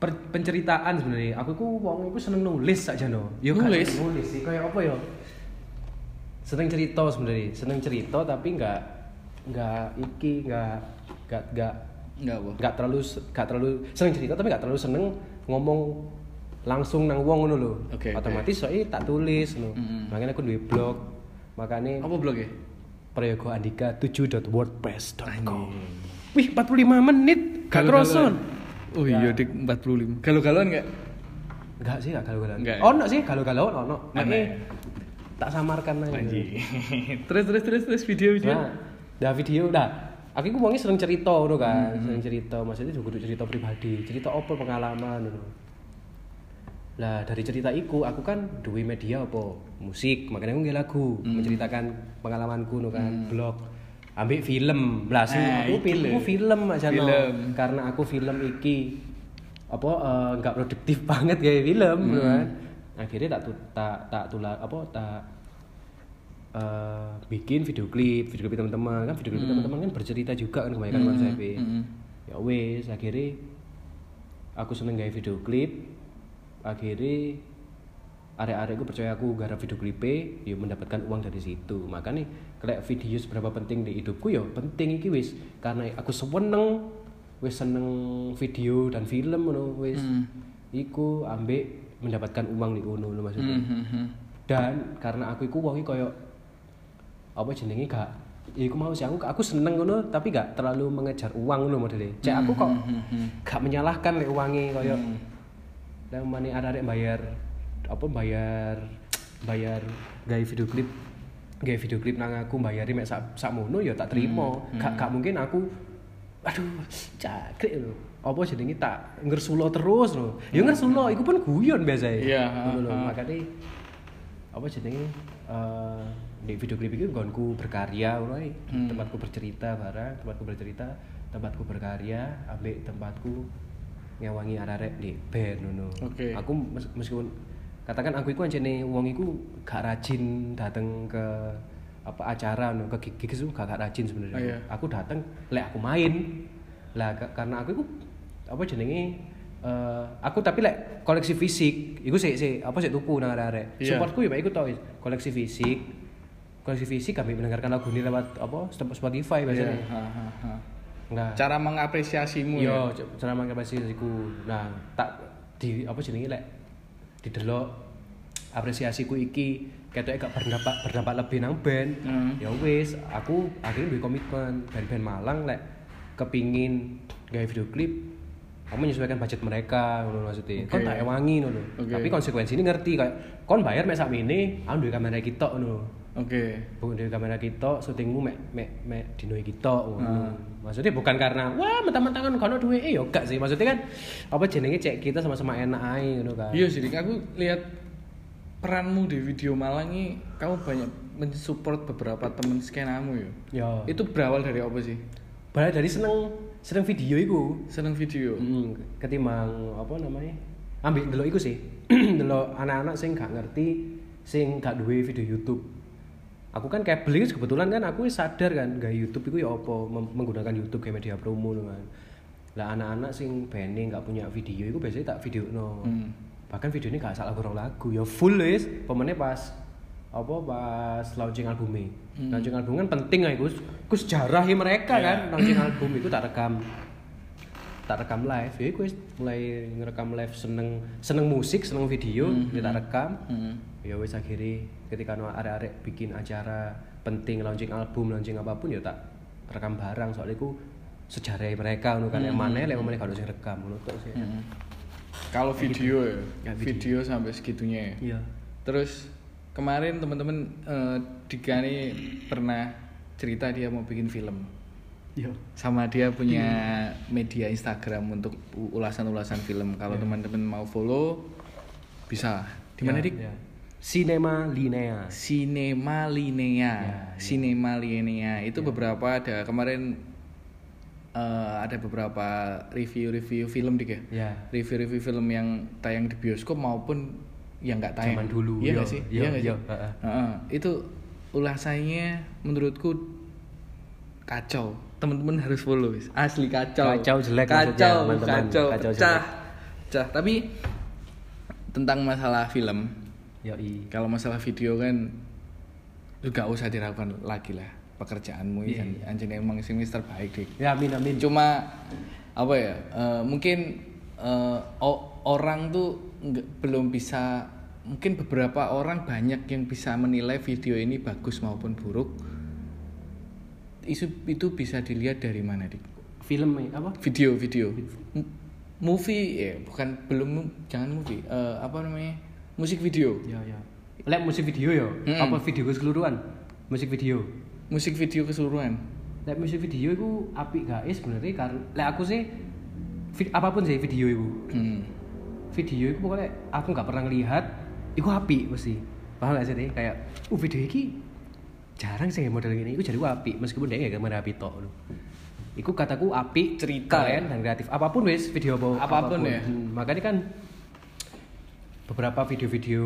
S2: Per- penceritaan sebenarnya aku ku wong iku seneng nulis saja no yo gak
S1: Nulis?
S2: seneng nulis sih kayak apa yo seneng cerita sebenarnya seneng cerita tapi nggak nggak iki nggak nggak nggak
S1: Enggak, Bo.
S2: nggak terlalu nggak terlalu seneng cerita tapi nggak terlalu seneng ngomong langsung nang wong ngono lho
S1: Oke, oke.
S2: otomatis soalnya tak tulis no.
S1: Mm-mm.
S2: makanya aku duwe blog makanya
S1: Apa blog ya?
S2: Prayogo Andika 7.wordpress.com Wih, 45 menit, gak kroson
S1: Oh iya, dik 45. Galau-galauan enggak?
S2: Enggak sih, gak galau-galauan
S1: Nggak ya?
S2: Ono sih, galau-galauan ono
S1: Aneh.
S2: Makanya tak samarkan aja
S1: Anjir. terus terus terus terus video-video.
S2: Nah, dah video, dah Aku ngomongnya sering cerita, ngono kan Sering cerita, maksudnya juga kudu cerita pribadi Cerita apa pengalaman ngono. Lah dari cerita iku, aku kan duwe media apa? Musik, makanya aku nggak lagu Menceritakan pengalamanku ngono kan, blog Ambil film, lah sing
S1: Nah,
S2: aku
S1: itu
S2: film,
S1: lho.
S2: aku film aja no.
S1: Film.
S2: Karena aku film iki apa eh, nggak produktif banget kayak film, gitu kan. Akhirnya tak tu- tak tak tular apa tak eh, bikin video klip, video klip teman-teman kan video klip teman-teman kan bercerita juga kan kebanyakan konsepnya.
S1: mm.
S2: Ya wes akhirnya aku seneng gawe video klip, akhirnya arek-arek gue percaya aku gara video klipnya ya mendapatkan uang dari situ makanya kayak video seberapa penting di hidupku ya penting iki wis karena aku seneng wis seneng video dan film ngono wis iku ambek mendapatkan uang di kono lho maksudnya
S1: Mhm.
S2: dan karena aku iku wongi koyo apa jenenge gak ya iku mau sih aku aku seneng ngono tapi gak terlalu mengejar uang ngono modele cek aku kok
S1: Hmm,
S2: gak menyalahkan lek uange koyo lek mani arek bayar apa bayar bayar gaya video klip gaya video klip nang aku bayari mek sak sakmono ya tak terima
S1: Hmm,
S2: gak gak mungkin aku aduh cakrik lho apa jenenge tak ngersulo terus lho ya ngersulo iku pun guyon biasanya
S1: Hmm, Iya,
S2: Ngono lho.
S1: ha, ha.
S2: Nah, makanya apa jenenge eh di video klip itu gonku berkarya mulai
S1: Hmm.
S2: tempatku bercerita barang tempatku bercerita tempatku berkarya ambek tempatku ngewangi arek-arek di band ngono
S1: Oke.
S2: aku mes- meskipun katakan aku iku anjene wong iku gak rajin dateng ke apa acara ngono ke gig gigs itu gak, gak rajin sebenarnya
S1: Ah, iya.
S2: aku dateng lek aku main lah ka- karena aku iku apa jenenge eh, aku tapi lek koleksi fisik iku sik sik apa sik tuku nang arek-arek
S1: Iya.
S2: supportku ya Pak, iku tau ya. koleksi fisik koleksi fisik kami mendengarkan lagu ini lewat apa Spotify
S1: Iya,
S2: biasanya
S1: ha, ha, ha.
S2: nah
S1: Cara mengapresiasimu ya.
S2: Iya, c- cara mangke iku. Nah, tak di apa jenenge lek didelok apresiasiku iki ketoke gak berdampak berdampak lebih nang band.
S1: Hmm.
S2: Ya wis, aku akhirnya duwe komitmen band-band Malang lek kepingin gawe video klip kamu menyesuaikan budget mereka ngono maksudnya kon
S1: Oke.
S2: tak ewangi ngono
S1: Oke.
S2: tapi konsekuensi ini ngerti kayak kon bayar mek sak ini aku duwe kamera kita ngono
S1: Oke.
S2: bukan dari kamera kita syutingmu mek mek mek dino kita ngono. maksudnya bukan karena wah mentah-mentah kan kono duwe eh yo gak sih maksudnya kan apa jenenge cek kita sama-sama enak ae ngono kan
S1: Iya sih, Dik. aku lihat peranmu di video Malang ini kamu banyak mensupport beberapa temen skenamu ya.
S2: yo
S1: Itu berawal dari apa sih?
S2: Padahal dari seneng seneng video iku
S1: Seneng video.
S2: Hmm, ketimbang apa namanya ambil delok iku sih delok anak-anak sing gak ngerti sing gak duwe video YouTube aku kan kabel itu kebetulan kan aku sadar kan gak YouTube itu ya apa mem- menggunakan YouTube kayak media promo lho kan lah anak-anak sing bening gak punya video itu biasanya tak video no
S1: Hmm.
S2: bahkan video ini gak salah kurang lagu ya full wis pemennya pas apa pas launching albumnya
S1: Hmm.
S2: launching album kan penting ya Gus Gus sejarah ya mereka
S1: Iya.
S2: kan launching album itu tak rekam tak rekam live ya gue mulai ngerekam live seneng seneng musik seneng video kita rekam
S1: Hmm.
S2: ya wes akhirnya ketika no arek-arek bikin acara penting launching album launching apapun ya tak rekam bareng soalnya ku sejarah mereka ngono kan yang mana yang mana harus rekam ngono tok sih
S1: Hmm. Kalau video ya,
S2: Ya,
S1: video sampai segitunya ya.
S2: iya
S1: Terus kemarin teman-teman eh, Dika nih pernah cerita dia mau bikin film.
S2: iya
S1: Sama dia punya media Instagram untuk u- ulasan-ulasan film. Kalau teman-teman mau follow bisa. Di mana Dik?
S2: Ya. Cinema Linea
S1: Cinema Linea.
S2: Ya,
S1: Cinema Linea itu beberapa ada kemarin eh, ada beberapa review-review film Dik ya.
S2: ya
S1: Review-review film yang tayang di bioskop maupun yang nggak tayang
S2: Zaman dulu,
S1: iya
S2: yo,
S1: nggak sih
S2: yo,
S1: iya nggak sih
S2: yo, heeh.
S1: Heeh. itu ulasannya menurutku kacau teman-teman harus follow wis. asli kacau
S2: Kacau jelek maksudnya,
S1: kacau
S2: teman-teman.
S1: kacau,
S2: Kacau jelek.
S1: pecah pecah tapi tentang masalah film
S2: Yoi.
S1: kalau masalah video kan juga usah diragukan lagi lah pekerjaanmu ini kan anjing emang semester baik deh
S2: Ya amin amin.
S1: cuma apa ya eh, mungkin eh, o- orang tuh nggak- belum bisa mungkin beberapa orang banyak yang bisa menilai video ini bagus maupun buruk isu itu bisa dilihat dari mana dik
S2: Film eh, apa?
S1: video video M- movie ya bukan belum jangan movie eh, apa namanya musik video
S2: Ya ya. Lek musik video ya.
S1: Mm-mm.
S2: Apa video keseluruhan? Musik video.
S1: musik video keseluruhan
S2: Lek musik video itu apik gak eh sebenarnya karena lek aku sih vid- apapun sih video itu.
S1: Hmm.
S2: Video itu pokoknya aku nggak pernah lihat itu apik mesti. Paham gak sih Teh? kayak uh video ini jarang sih yang model ini itu jadi aku apik meskipun dia gak kamera apik tok lho. Iku kataku apik
S1: Cerita.
S2: keren dan kreatif apapun wis video apa
S1: Apapun ya.
S2: Hmm, makanya kan beberapa video-video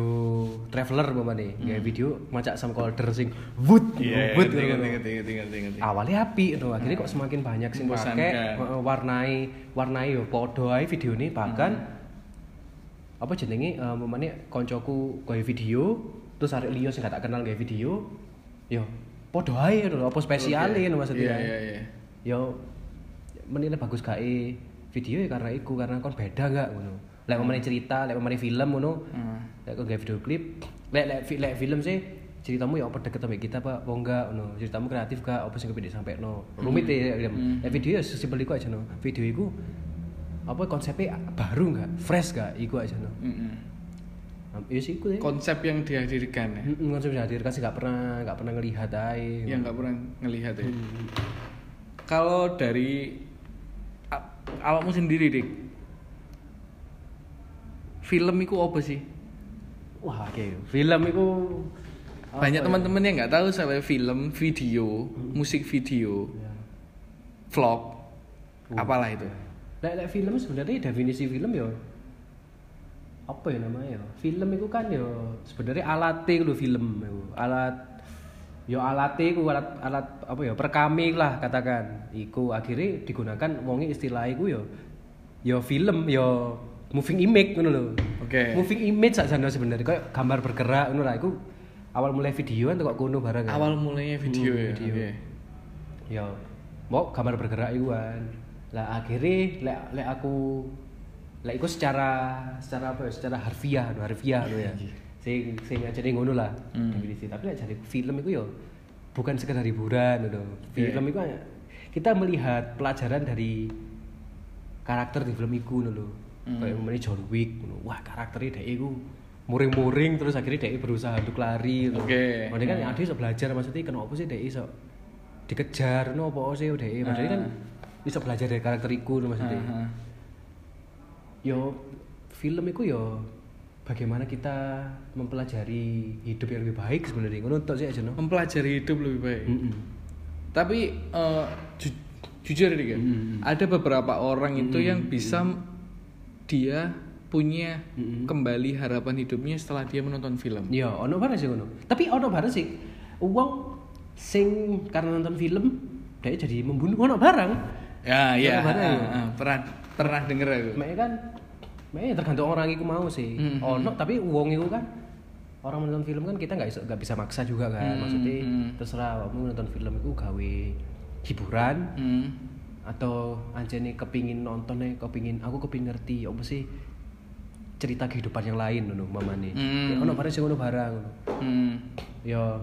S2: traveler umpamane kayak video macak samcolder sing wut wut
S1: Hmm. Iya,
S2: ngono.
S1: ngerti, ngerti, ngerti, ngerti, ngerti, ngerti.
S2: awalnya api no. akhirnya
S1: Hmm.
S2: kok semakin banyak sih
S1: Membosankan.
S2: pakai eh, warnai warnai yo podo ae video ini bahkan
S1: Hmm.
S2: apa jenenge eh, memane koncoku gawe video terus arek liyo sing gak tak kenal gawe video yo podo ae no. apa spesiale
S1: Oke.
S2: no kan maksudnya ya?
S1: Iya, iya, iya.
S2: yo menilai bagus gak e video ya karena iku karena kon beda gak ngono lek memane cerita lek memane film ngono
S1: Hmm.
S2: lek kon gawe video klip lek lek fi- lek film sih ceritamu ya apa deket sama kita pak apa enggak ngono ceritamu kreatif gak apa sing kepede sampai no rumit ya film lek video ya sesimpel iku aja no video iku apa konsepnya baru nggak fresh gak iku aja no
S1: Mm-mm.
S2: Am- iya sih iku ya
S1: konsep yang dihadirkan ya
S2: Mm, mm, konsep dihadirkan sih nggak pernah nggak pernah ngelihat ae
S1: yang nggak pernah ngelihat ya kalau dari a- awakmu sendiri dik film itu apa sih
S2: wah oke film ya? itu
S1: banyak teman-teman yang nggak tahu sampai film video musik video
S2: Iya.
S1: vlog apalah itu
S2: Lek lek film sebenarnya definisi film ya apa ya namanya ya? Film itu kan ya sebenarnya alat itu film itu. Alat ya alat itu alat alat apa ya perekami lah katakan. Iku akhirnya digunakan wonge istilah iku ya ya film ya moving image ngono lho.
S1: Oke.
S2: Moving image saja sebenarnya kayak gambar bergerak ngono lah iku awal mulai videoan tuh kok kono barang kan.
S1: awal mulanya video
S2: Hmm,
S1: ya
S2: video.
S1: oke.
S2: ya mau gambar bergerak itu kan lah akhirnya lek lek aku lek iku secara secara apa ya secara harfiah no harfiah no ya sing sing ajane ngono lah definisi tapi lek jare film itu ya bukan sekedar hiburan no film itu hanya- kita melihat pelajaran dari karakter di film itu no lho. kayak umpamanya John Wick no. wah karakternya dia itu muring-muring terus akhirnya dia berusaha untuk lari no.
S1: Oke.
S2: Padahal kan ada iso belajar maksudnya kenapa sih dia iso dikejar no apa sih udah maksudnya kan iso belajar dari karakter iku no, maksudnya.
S1: Aha.
S2: Yo film iku yo bagaimana kita mempelajari hidup yang lebih baik sebenarnya ngono tok sih aja no.
S1: mempelajari hidup lebih baik
S2: Mm-mm.
S1: tapi eh, ju- jujur nih kan ada beberapa orang itu yang bisa dia punya kembali harapan hidupnya setelah dia menonton film
S2: Yo ono bareng sih ngono. Tapi ono bareng sih uang sing karena nonton film dia jadi membunuh ono barang.
S1: ya ya
S2: Pernah,
S1: ah,
S2: ya?
S1: ah, pernah pernah denger aku
S2: Mek kan mek tergantung orang iku mau sih.
S1: Hmm,
S2: Ono tapi wong iku kan orang menonton film kan kita nggak iso- nggak bisa maksa juga kan.
S1: Hmm,
S2: Maksudnya
S1: hmm.
S2: terserah kamu menonton film iku gawe hiburan
S1: Hmm.
S2: atau anjene kepingin nonton nih, kepingin aku kepingin ngerti ya apa sih cerita kehidupan yang lain ngono mamane. Ya,
S1: Hmm.
S2: ono barang sing ono barang ngono.
S1: Hmm.
S2: Ya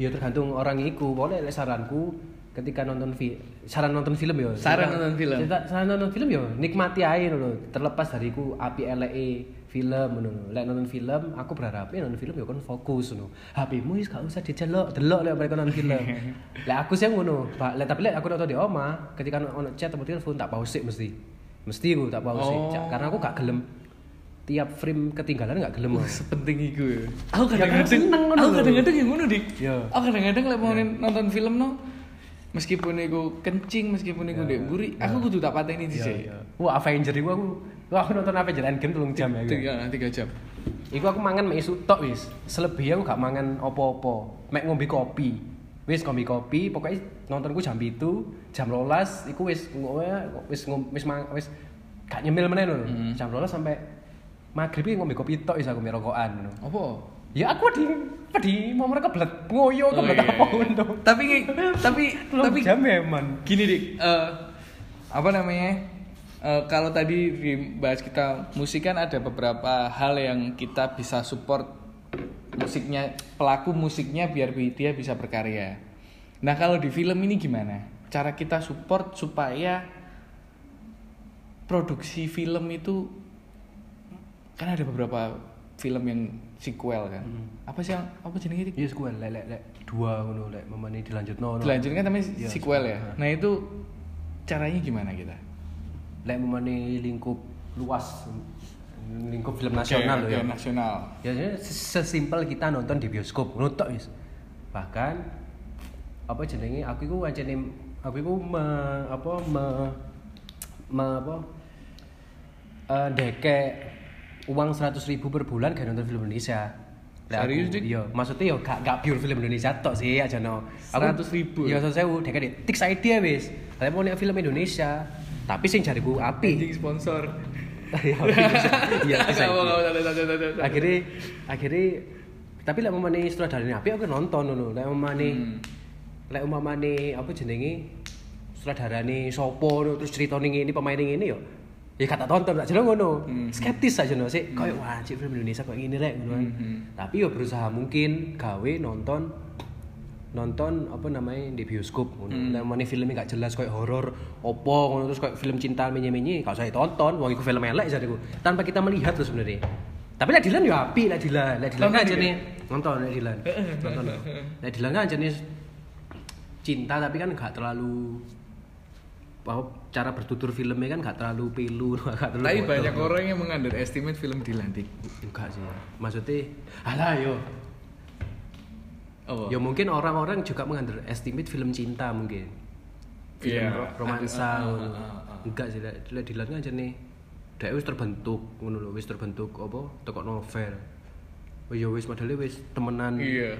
S2: ya tergantung orang iku. Boleh lek saranku ketika nonton film saran nonton film ya.
S1: Saran
S2: Cerita-
S1: nonton film.
S2: cerita- saran nonton film ya nikmati aja ngono lho. Terlepas dari ku api eleke film ngono lho. Lek nonton film aku berharap ya nonton film ya kon fokus ngono. HP-mu wis gak usah dicelok, delok lek mereka nonton film. lek aku sih ngono. Pak, lek tapi lek aku nonton di oma ketika ono chat atau telepon tak pause mesti. Mesti aku tak pause
S1: Oh.
S2: Cak, karena aku gak gelem tiap frame ketinggalan gak gelem. aku.
S1: sepenting iku ya
S2: Ya,
S1: aku
S2: karena
S1: kadang-kadang
S2: seneng ngono
S1: aku
S2: lho.
S1: kadang-kadang yang ngono dik
S2: Ya.
S1: aku kadang-kadang lek mau nonton film no meskipun aku kencing meskipun aku ndek mburi aku kudu tak pateni
S2: Iya,
S1: dhisik
S2: iya. Wah, Avenger iku aku, wah, aku nonton Avenger Endgame telung jam ya.
S1: tiga tiga jam
S2: Iku aku mangan mek isuk tok wis. Selebihnya aku gak mangan opo-opo. Mek ngombe kopi. Wis ngombe kopi, pokoknya nontonku jam itu, jam rolas, iku wis ngowe- wis ngom- wis mang- wis gak nyemil meneh lho.
S1: Hmm.
S2: Jam rolas sampai maghrib iki ngombe kopi tok wis aku merokokan ngono.
S1: Apa?
S2: Ya aku di di mau mereka kebelet ngoyo kebelet
S1: iya,
S2: apa
S1: iya.
S2: untuk.
S1: Tapi tapi tapi
S2: Tapi jam ya, eman.
S1: gini dik eh, apa namanya Eh, kalau tadi dibahas kita musik kan ada beberapa hal yang kita bisa support musiknya pelaku musiknya biar bi- dia bisa berkarya nah kalau di film ini gimana cara kita support supaya produksi film itu kan ada beberapa film yang sequel kan apa sih yang apa jenisnya
S2: Yes, gue Ya lek lek lek dua ngono lek memani dilanjut no.
S1: dilanjutkan tapi
S2: Iya,
S1: sequel ya.
S2: sequel.
S1: Nah itu caranya gimana kita?
S2: Lek memani lingkup luas lingkup film nasional
S1: Oke,
S2: loh ya.
S1: oke, Nasional.
S2: Ya sebenarnya ses- sesimpel kita nonton di bioskop ngono tok wis. Bahkan apa jenenge aku iku ancene aku iku me, apa me, me apa eh deke uang 100.000 ribu per bulan gak nonton film Indonesia. Lah aku-
S1: Serius, Dik?
S2: Iya, maksudnya yo gak gak pure film Indonesia tok sih aja no.
S1: 100.000?
S2: Iya, 100.000 deke dek tiks idea wis. Lah mau nek film Indonesia, tapi sing jariku apik.
S1: Anjing sponsor.
S2: Iya, iya, tiks idea
S1: Nggak mau, nggak mau, nggak mau, nggak mau, nggak mau.
S2: akhirnya akhirnya tapi lek umpamane sutradarane apik aku nonton ngono lek umpamane
S1: Hmm.
S2: lek umpamane apa jenenge sutradarane sapa ngono, terus critane ngene pemaine ngene yo ya kata tonton tak jelas ngono
S1: Hmm.
S2: skeptis aja no sih koyo wah cik film Indonesia kok ngene rek ngono kan.
S1: Hmm.
S2: tapi yo berusaha mungkin gawe nonton nonton apa namanya di bioskop
S1: Hmm.
S2: ngono lek umpamane filmnya gak jelas koyo horor opo ngono terus koyo film cinta menye-menye gak usah ditonton wong iku film elek jadiku tanpa kita melihat loh sebenarnya tapi lek Dilan yo apik lek Dilan lek Dilan
S1: Tonton
S2: kan
S1: juga?
S2: jenenge nonton lek Dilan nonton lho lek Dilan kan jenis cinta tapi kan gak terlalu bahwa cara bertutur filmnya kan gak terlalu pilu gak terlalu
S1: Tapi
S2: bodoh.
S1: banyak orang yang meng-underestimate film Dilantik.
S2: enggak sih maksudnya alah yo
S1: Oh.
S2: ya mungkin orang-orang juga meng-underestimate film cinta mungkin film
S1: Iya.
S2: ro- romansa
S1: Ah, ah, ah,
S2: ngono.
S1: ah, ah.
S2: enggak sih lek lek Dilan kan jene dhek wis terbentuk ngono lho wis terbentuk apa tekok novel Oh ya wis modelnya wis temenan
S1: Iya.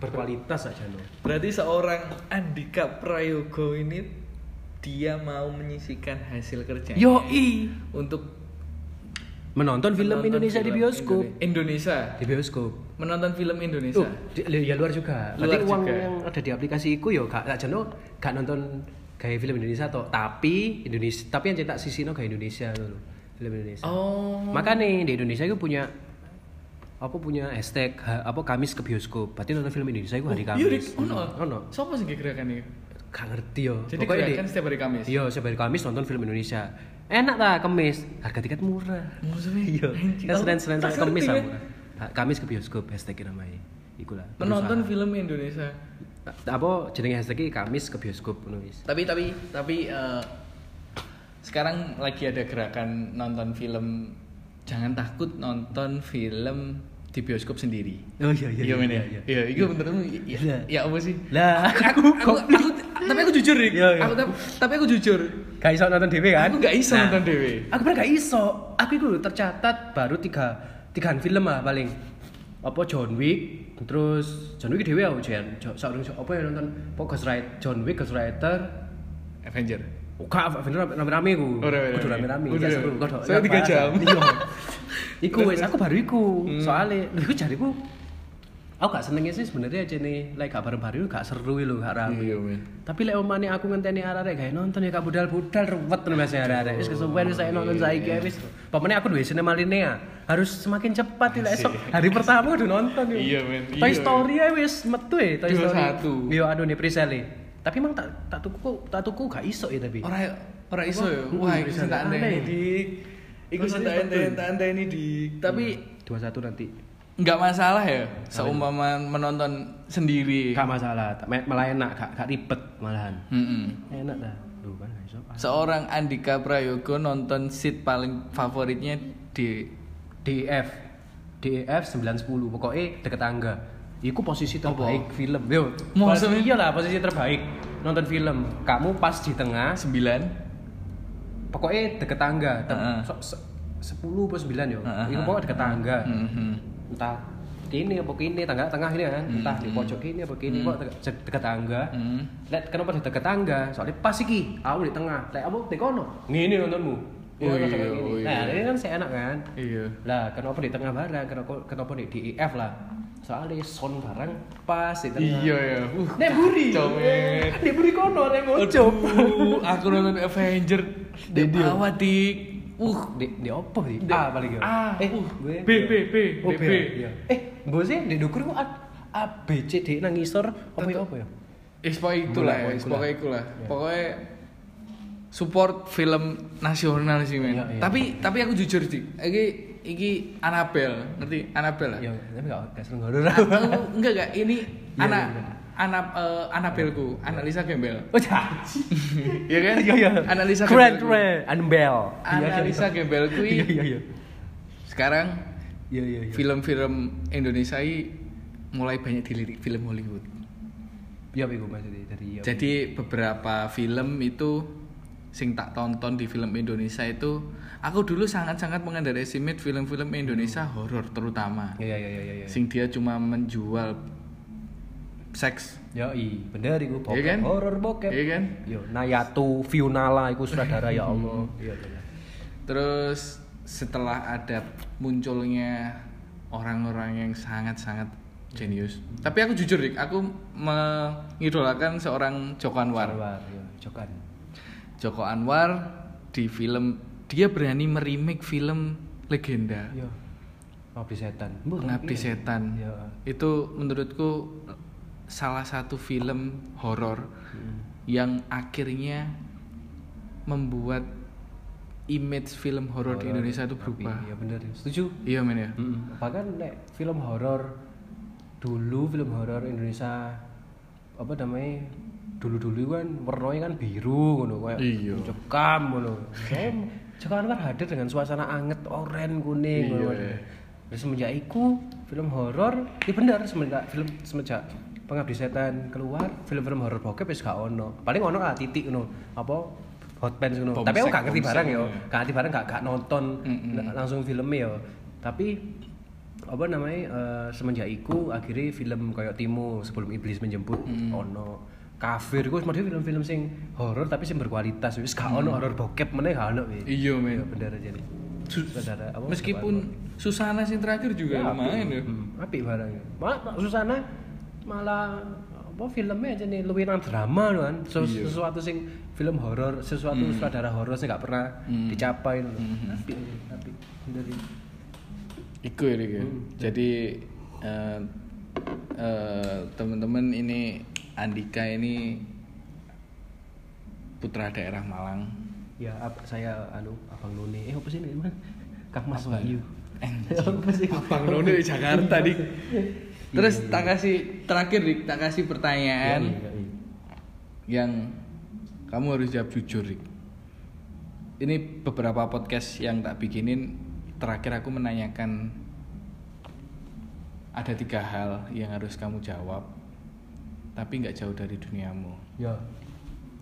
S2: berkualitas aja no.
S1: Berarti seorang Andika Prayogo ini dia mau menyisihkan hasil kerjanya
S2: Yoi
S1: untuk
S2: menonton film
S1: menonton
S2: Indonesia di
S1: film
S2: bioskop.
S1: Indone- Indonesia.
S2: Di bioskop.
S1: Menonton film
S2: Tuh,
S1: Indonesia.
S2: di- ya luar juga.
S1: Luar
S2: Berarti uang
S1: juga.
S2: yang ada di aplikasi iku yo gak tak jeno gak nonton gaya film Indonesia toh, tapi Indonesia tapi yang cetak sisi no gaya Indonesia lho. Film Indonesia.
S1: Oh.
S2: Makanya di Indonesia itu punya apa punya hashtag ha- apa Kamis ke bioskop. Berarti nonton film Indonesia itu hari
S1: Iya, Dik.
S2: Kamis.
S1: Ono.
S2: Ono.
S1: Sopo sing gerakan iki?
S2: Gak ngerti yo.
S1: Jadi
S2: Oh, Pokoknya di-
S1: gerakan setiap hari Kamis.
S2: Iya, setiap hari Kamis nonton film Indonesia. Enak ta Kamis, harga tiket murah.
S1: Maksudnya?
S2: Iya.
S1: Anjing,
S2: Kan
S1: aku
S2: selain selain
S1: tak
S2: sama Kamis
S1: ngerti, ya
S2: sama. Kamis ke bioskop hashtag namanya. Iku lah.
S1: Menonton film Indonesia.
S2: Berusaha. apa jenenge hashtag Kamis ke bioskop ngono wis.
S1: tapi tapi tapi eh, sekarang lagi ada gerakan nonton film jangan takut nonton film di bioskop sendiri
S2: Oh iya iya.
S1: iya men ya iya itu bener ya,
S2: Iya.
S1: ya apa sih
S2: Lah,
S1: aku, aku, aku, tapi aku jujur Rik.
S2: Iya, iya.
S1: aku tapi, tapi aku jujur
S2: Gak iso nonton dhewe kan?
S1: aku nggak iso
S2: Nah,
S1: nonton dewe
S2: Aku bener gak iso. Aku itu dulu tercatat baru tiga tigaan film lah paling. Apa John Wick, terus John Wick dhewe aku jan. Jo- Sak durung- apa yang nonton Pokok Ghost Rider, John Wick Ghost Rider,
S1: Avenger
S2: Oka, bener rame-rame ku.
S1: Oh, rame-rame.
S2: Kudu rame-rame.
S1: Kudu
S2: Ya,
S1: rame.
S2: seru, kodok.
S1: Saya
S2: Ya,
S1: tiga
S2: pas.
S1: jam. Hmm.
S2: Iya. Iku wis aku baru iku. Soale lho iku jariku aku gak senengnya sih sebenarnya aja nih like gak bareng-bareng gak seru lho gak rame.
S1: iya men
S2: Tapi lek omane aku ngenteni arek-arek gawe nonton ya gak budal-budal ruwet terus biasa arek-arek. Wis kesuwen wis saya nonton saiki
S1: Iya.
S2: ae, wis. Pamane aku duwe sinema linea. Harus semakin cepat lek esok hari pertama udah nonton yo.
S1: Iya, men.
S2: Toy
S1: Iya,
S2: Story ae wis metu e Toy
S1: Dua
S2: Story.
S1: satu.
S2: Yo anu nih Prisele. Tapi emang tak tak tuku tak tuku gak iso ya tapi.
S1: ora ora iso ya
S2: Mm,
S1: wah iku
S2: bisa
S1: sing tak
S2: aneh.
S1: anteni dik iku sing tak Mm. anteni tak anteni dik tapi
S2: dua satu nanti
S1: nggak masalah ya seumpama menonton sendiri
S2: gak masalah tak- me- malah enak gak, gak ribet malahan
S1: Mm-mm.
S2: enak dah lu kan gak iso
S1: Seorang Andika Prayogo nonton seat paling favoritnya di
S2: DF DF 910 pokoknya deket tangga Iku posisi terbaik film yo
S1: Maksudnya?
S2: iya lah posisi terbaik nonton film kamu pas di tengah
S1: 9
S2: pokoknya deket tangga Tem-
S1: Heeh.
S2: so- se- sepuluh apa sembilan ya
S1: Heeh,
S2: itu
S1: heeh.
S2: pokoknya dekat tangga
S1: Mhm.
S2: entah kini apa kini tangga tengah ini kan
S1: Hmm,
S2: entah di pojok kini apa kini kok dekat tangga
S1: Mhm.
S2: Lek kenapa di dekat tangga? Soalnya pas iki, aku di tengah. Lek aku di kono. Ngene nontonmu. Iya,
S1: Oh
S2: kan,
S1: iya,
S2: gini.
S1: oh iya.
S2: Nah, ini kan saya enak kan.
S1: Iya.
S2: Lah, kenapa di tengah barang? Kenapa kenapa di DIF lah? Soalnya sound barang pas di tengah.
S1: Iya ya. Uh,
S2: Nek buri.
S1: Comet.
S2: Nek buri kono nek ngocok.
S1: Aduh, Uh, aku nonton Avenger di bawah dik.
S2: Uh, di di opo sih?
S1: Di-
S2: A paling ya.
S1: A,
S2: eh,
S1: uh,
S2: B,
S1: B, B, B,
S2: Oh,
S1: B,
S2: B.
S1: B.
S2: iya. Eh, mbok sih di dukur kok A, A B C D nang ngisor opo ya opo ya?
S1: Eh, pokoknya itulah ya,
S2: Mulai,
S1: wis,
S2: mulai.
S1: pokoknya itulah.
S2: Iya.
S1: Pokoknya support film nasional sih men.
S2: Iya, iya.
S1: Tapi tapi aku jujur sih, iki iki Anabel, ngerti Anabel lah.
S2: Ya, tapi gak gak seneng ngono.
S1: Aku enggak enggak ini
S2: Iya,
S1: anak
S2: iya, iya.
S1: anak eh, Anabelku, analisa gembel.
S2: Oh, janji.
S1: Iya kan?
S2: Iya iya.
S1: Analisa
S2: keren
S1: gembelku.
S2: keren. Anbel.
S1: Analisa gembelku i-
S2: Iya iya iya.
S1: Sekarang
S2: Iya iya. iya.
S1: film-film Indonesia i mulai banyak dilirik film Hollywood.
S2: Iya Pak, iku maksudnya dari iya.
S1: Jadi beberapa film itu sing tak tonton di film Indonesia itu aku dulu sangat-sangat mengunderestimate film-film Indonesia horor terutama.
S2: Hmm. Iya iya iya iya. iya.
S1: Sing dia cuma menjual seks.
S2: Ya i, bener iku bokep.
S1: Iya kan?
S2: Horor bokep.
S1: Iya Hmm. kan?
S2: Yo, Nayatu, Fiunala iku sutradara ya Allah. Iya iya.
S1: Terus setelah ada munculnya orang-orang yang sangat-sangat jenius. Tapi aku jujur Dik, aku mengidolakan seorang Joko Anwar.
S2: Warwar, ya, Jokan.
S1: Joko Anwar di film dia berani merimik film legenda
S2: Yo. Ngabdi setan.
S1: Pengabdi Setan.
S2: Yo.
S1: Itu menurutku salah satu film horor
S2: Hmm.
S1: yang akhirnya membuat image film horor di Indonesia itu berubah.
S2: Iya bener. ya. Setuju?
S1: Iya men ya.
S2: Bahkan nek film horor dulu film horor Indonesia apa namanya dulu-dulu kan warnanya kan biru ngono kayak
S1: Iya.
S2: cekam ngono. Saya Joko Anwar hadir dengan suasana anget oranye kuning
S1: Iya.
S2: ngono. Terus semenjak iku film horor, ya bener semenjak film semenjak Pengabdi Setan keluar, film-film horor bokep wis gak ono. Paling ono ah titik ngono. Apa hot pants ngono.
S1: Bomsek,
S2: Tapi aku gak ngerti
S1: bomsek
S2: barang yo
S1: ngono ya.
S2: gak ngerti bareng gak, gak nonton na-
S1: Hmm.
S2: langsung filmnya ya tapi apa namanya eh, semenjak iku akhirnya film kayak Timo sebelum iblis menjemput
S1: Hmm.
S2: ono kafir gue sebenarnya film-film sing horor tapi sing berkualitas wis gak ono horor bokep meneh gak ono wis.
S1: Hmm. Iya
S2: Ya,
S1: men.
S2: bener aja nih
S1: Su-
S2: Saudara, apa,
S1: Meskipun Susana sih terakhir juga lumayan ya.
S2: hmm, apik barangnya malah Susana malah apa filmnya aja nih lebih nang drama lho kan Sesu-
S1: Iya. Hmm.
S2: sesuatu sing film horor sesuatu sutradara horor sing gak pernah dicapai lho apik apik bener ya.
S1: Iku ya, Riki. Jadi eh, eh, teman-teman ini Andika ini putra daerah Malang.
S2: ya ab, saya anu abang None eh apa sih nih Mas? Kang Mas Bayu
S1: Anjing.
S2: apa sih
S1: Abang Nono di Jakarta dik. Terus tak kasih terakhir dik, tak kasih
S2: Iya,
S1: pertanyaan
S2: iya, iya.
S1: yang kamu harus jawab jujur dik. Ini beberapa podcast yang tak bikinin terakhir aku menanyakan ada tiga hal yang harus kamu jawab tapi nggak jauh dari duniamu.
S2: ya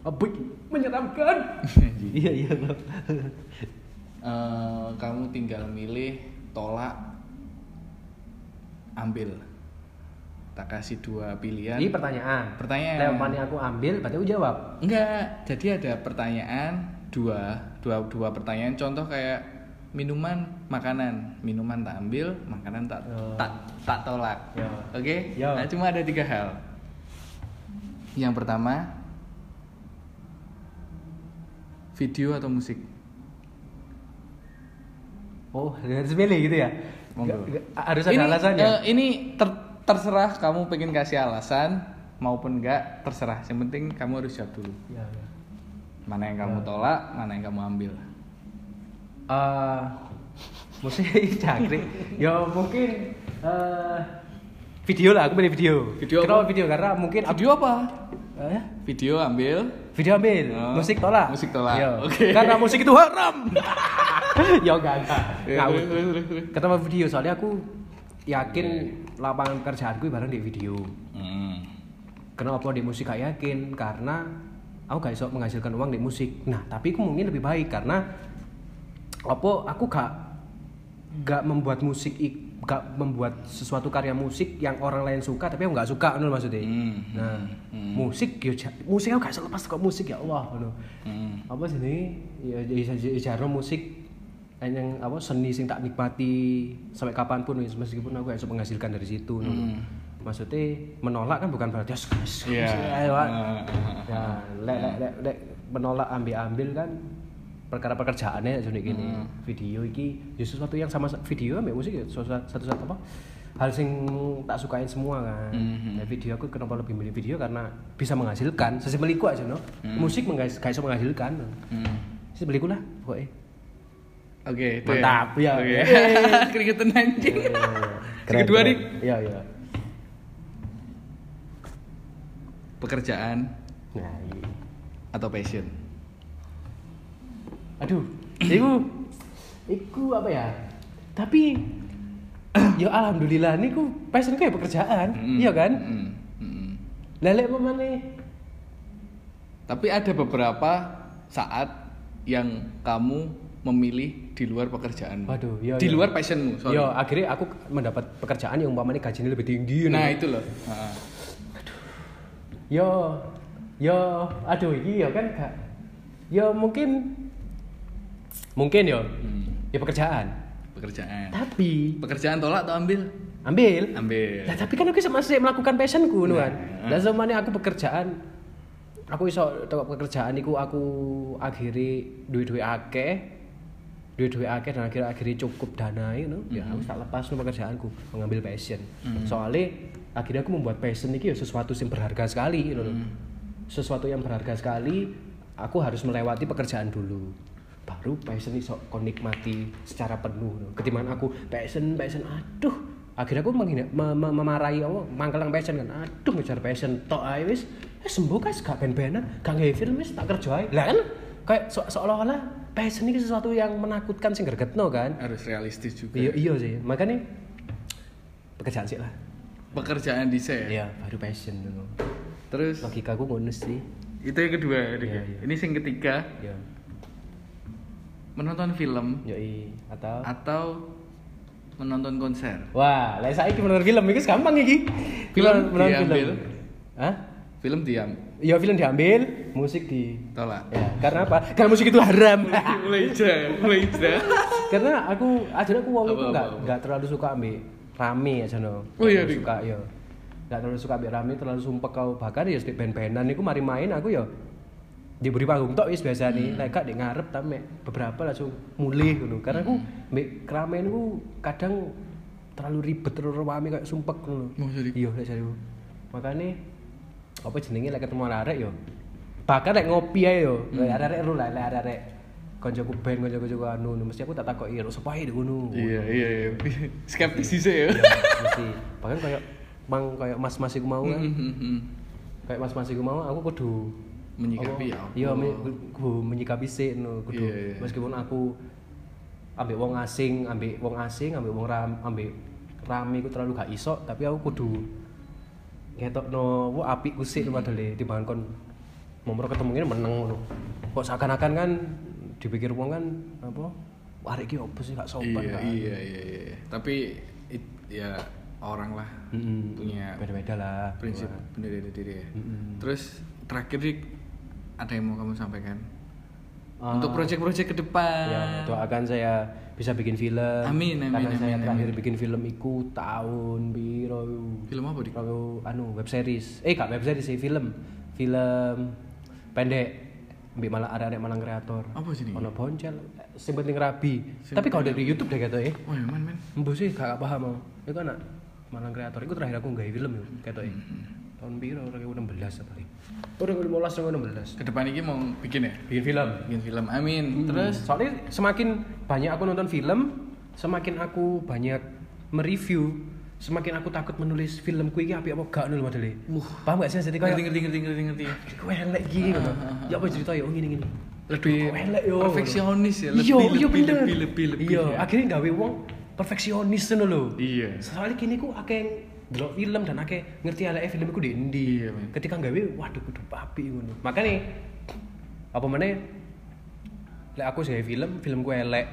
S2: abik menyeramkan
S1: Anjing.
S2: iya iya Bang.
S1: Eh, kamu tinggal milih tolak ambil tak kasih dua pilihan
S2: ini pertanyaan
S1: Pertanyaan.
S2: Lempannya aku ambil berarti aku jawab
S1: enggak jadi ada pertanyaan dua dua dua pertanyaan contoh kayak minuman makanan minuman tak ambil makanan tak
S2: Yo.
S1: tak tak tolak
S2: Yo.
S1: oke
S2: Oh. Yo.
S1: nah, cuma ada tiga hal yang pertama video atau musik
S2: Oh, harus milih gitu ya? Nggak-
S1: Monggo.
S2: nggak- harus ada ya? alasannya?
S1: eh, ini ter- terserah kamu pengen kasih alasan maupun enggak terserah. Yang penting kamu harus jawab dulu.
S2: Ya, ya.
S1: Mana yang kamu tolak, mana yang kamu ambil.
S2: Eh, mesti cangkrik. ya mungkin eh, video lah, aku pilih video.
S1: Video
S2: Kenapa
S1: apa?
S2: video? Karena mungkin
S1: Video apa?
S2: Eh,
S1: Video ambil.
S2: video ambil,
S1: Oh,
S2: musik tolak.
S1: musik tolak.
S2: Iya.
S1: Oke.
S2: Karena musik itu haram. ya enggak enggak.
S1: Ya,
S2: Ngawur.
S1: terus, terus, terus, terus.
S2: Ketemu video soalnya aku yakin lapangan kerjaanku bareng di video.
S1: Hmm.
S2: kenapa di musik gak yakin karena aku gak iso menghasilkan uang di musik nah tapi aku mungkin lebih baik karena apa aku gak gak membuat musik i- gak membuat sesuatu karya musik yang orang lain suka tapi aku gak suka ngono maksudnya
S1: Hmm,
S2: nah musik yo ja- musik aku gak bisa lepas kok musik ya Allah ngono
S1: Hmm.
S2: apa sih ini ya ya- ya- ya jarno musik dan yang apa seni sing tak nikmati sampai kapanpun wis meskipun aku gak bisa menghasilkan dari situ ngono. maksudnya menolak kan bukan berarti "Yes, yes,
S1: Hmm. Iya.
S2: yes, ayo, ah."
S1: Heeh.
S2: ya lek lek lek lek menolak ambil ambil kan perkara pekerjaannya jadi gini video iki ya sesuatu yang sama video ambil musik ya sesuatu satu satu apa hal sing tak sukain semua kan
S1: Mhm.
S2: Nah, video aku kenapa lebih milih video karena bisa menghasilkan sesimpeliku aja no musik menggais gak iso menghasilkan
S1: Hmm.
S2: sesimpeliku lah pokoknya
S1: Oke, itu
S2: Mantap, ya.
S1: Oke. Keringetan anjing.
S2: Keren,
S1: Kedua
S2: keren.
S1: nih,
S2: iya iya
S1: pekerjaan
S2: nah iya
S1: atau passion.
S2: aduh iku iku apa ya tapi ya alhamdulillah niku passion ku ya pekerjaan
S1: Mm-mm.
S2: iya kan
S1: Mm-mm. Mm-mm.
S2: lelek apa maneh?
S1: Tapi ada beberapa saat yang kamu memilih di luar pekerjaanmu.
S2: Waduh, iya,
S1: Di
S2: iya.
S1: luar passionmu, sorry.
S2: Yo, akhirnya aku mendapat pekerjaan yang umpamanya gajinya lebih tinggi.
S1: Nah,
S2: Nah,
S1: itu loh. Heeh.
S2: yo, yo, Ya, aduh, iya kan kak. Yo mungkin, mungkin yo, ya pekerjaan.
S1: mm. Nah. Pekerjaan.
S2: Tapi
S1: Pekerjaan tolak atau ambil?
S2: ambil.
S1: Ambil.
S2: Lah, tapi kan aku masih melakukan passionku nu kan. Lah zamane aku pekerjaan aku iso tekok pekerjaan iku aku akhiri duit-duit akeh. Duit-duit akeh dan akhirnya akhirnya cukup dana itu ya aku tak lepas nu pekerjaanku mengambil passion. Soalnya akhirnya aku membuat passion iki ya sesuatu yang berharga sekali ngono lho. Sesuatu yang berharga sekali aku harus melewati pekerjaan dulu baru passion iso kau nikmati secara penuh no. ketimbang aku passion passion aduh akhirnya aku menghina, me- me- memarahi Allah mangkelang passion kan aduh ngejar passion tok ae wis eh, sembuh guys gak ben-benan gak ngewe film wis tak kerja ae lah kan kayak se- seolah-olah passion ini sesuatu yang menakutkan sing gregetno kan
S1: Harus realistis juga.
S2: iya iya sih makanya pekerjaan sih lah
S1: Pekerjaan di saya.
S2: iya baru passion no.
S1: Terus
S2: logika aku ngono sih
S1: itu yang kedua. adik.
S2: Iya, iya.
S1: Ini yang ketiga,
S2: iya
S1: menonton film
S2: yoi atau
S1: atau menonton konser.
S2: Wah, lek saiki menonton film iki gampang iki.
S1: Film
S2: Menonton
S1: diambil.
S2: Hah?
S1: Film diam,
S2: Ya film diambil, musik di
S1: tolak.
S2: Ya, karena apa? Karena musik itu haram.
S1: mulai hijrah, mulai hijrah.
S2: karena aku aja aku wong
S1: Apa,
S2: itu enggak
S1: apa, apa?
S2: enggak terlalu suka ambil rame ya, aja no.
S1: Oh, iya, Dik.
S2: suka ya. Enggak terlalu suka ambil rame, terlalu sumpek kau bakar ya setiap band-bandan niku mari main aku ya diberi panggung tok wis biasa
S1: Hmm.
S2: nih lek gak di ngarep ta mek beberapa langsung mulih ngono karena aku
S1: Hmm.
S2: mbek keramaian ku kadang terlalu ribet terlalu rame kayak sumpek ngono
S1: Mau Oh, jadi
S2: iya lek jariku makane apa jenenge lek ketemu arek yo bahkan lek ngopi ae yo lek arek ero lah lek arek koncoku ben koncoku anu anu. mesti aku tak takoki ero sapa ae ngono
S1: Iya, iya, iya. Skeptis sih ya. saya.
S2: mesti bahkan koyo mang koyo mas-mas iku mau
S1: Hmm.
S2: kan kayak mas-mas iku mau aku kudu
S1: Menyikapi ya
S2: apa-
S1: apa?
S2: iya men- kudu menyikapi sik no kudu
S1: Iya, iya.
S2: meskipun aku ambek wong asing ambek wong asing ambek wong ram ambek rame ku terlalu gak iso tapi aku kudu ngetokno wo apik ku sik padahal timbangan kon momro ketemu ngene meneng ngono kok seakan-akan kan dipikir wong kan apa warik ki opo sih gak sopan
S1: Iya,
S2: kan
S1: iya, iya, iya. Tapi it- ya orang lah
S2: Mm-mm.
S1: punya
S2: beda-beda lah
S1: Iya. prinsip bendera diri, diri ya. Terus terakhir Dik, ada yang mau kamu sampaikan?
S2: Ah.
S1: Untuk proyek-proyek ke depan.
S2: Ya, doakan saya bisa bikin film.
S1: Amin, amin,
S2: Karena
S1: amin,
S2: saya
S1: amin.
S2: terakhir bikin film iku tahun piro iku?
S1: Film apa Dik?
S2: Piro, anu web series. Eh, gak web series sih, film. Film pendek Mbak malah arek-arek malang kreator.
S1: Apa sih ini?
S2: Ono boncel, Iya. sing penting rabi. Tapi kalau dari YouTube deh ketoke.
S1: Oh ya man, man.
S2: Mbok sih gak paham aku. Iku anak malang kreator iku terakhir aku nggawe film yo ketoke. Tahun piro? 2016 apa? 2015 2016.
S1: Ke depan ini mau bikin ya?
S2: Bikin film.
S1: Bikin film, amin. Terus
S2: Terus Hmm. soalnya semakin banyak aku nonton film, semakin aku banyak mereview, semakin aku takut menulis filmku ini apik apa gak nul modele. Paham gak sih jadi
S1: ngerti
S2: kayak
S1: ngerti ngerti ngerti ngerti.
S2: kowe elek iki ngono. Ya apa cerita ya ngene ngene.
S1: Lebih
S2: Kok elek yo.
S1: perfeksionis ya, lebih
S2: Iya, iya
S1: lebih
S2: bener.
S1: lebih lebih lebih.
S2: Iya,
S1: ya.
S2: akhirnya gawe wong perfeksionis ngono lho.
S1: Iya.
S2: Soalnya kini ku akeh delok film dan akeh ngerti ala film ku di endi. ya,
S1: Iya, men.
S2: Ketika gawe waduh kudu apik ngono. Makane apa meneh lek aku gawe film, filmku elek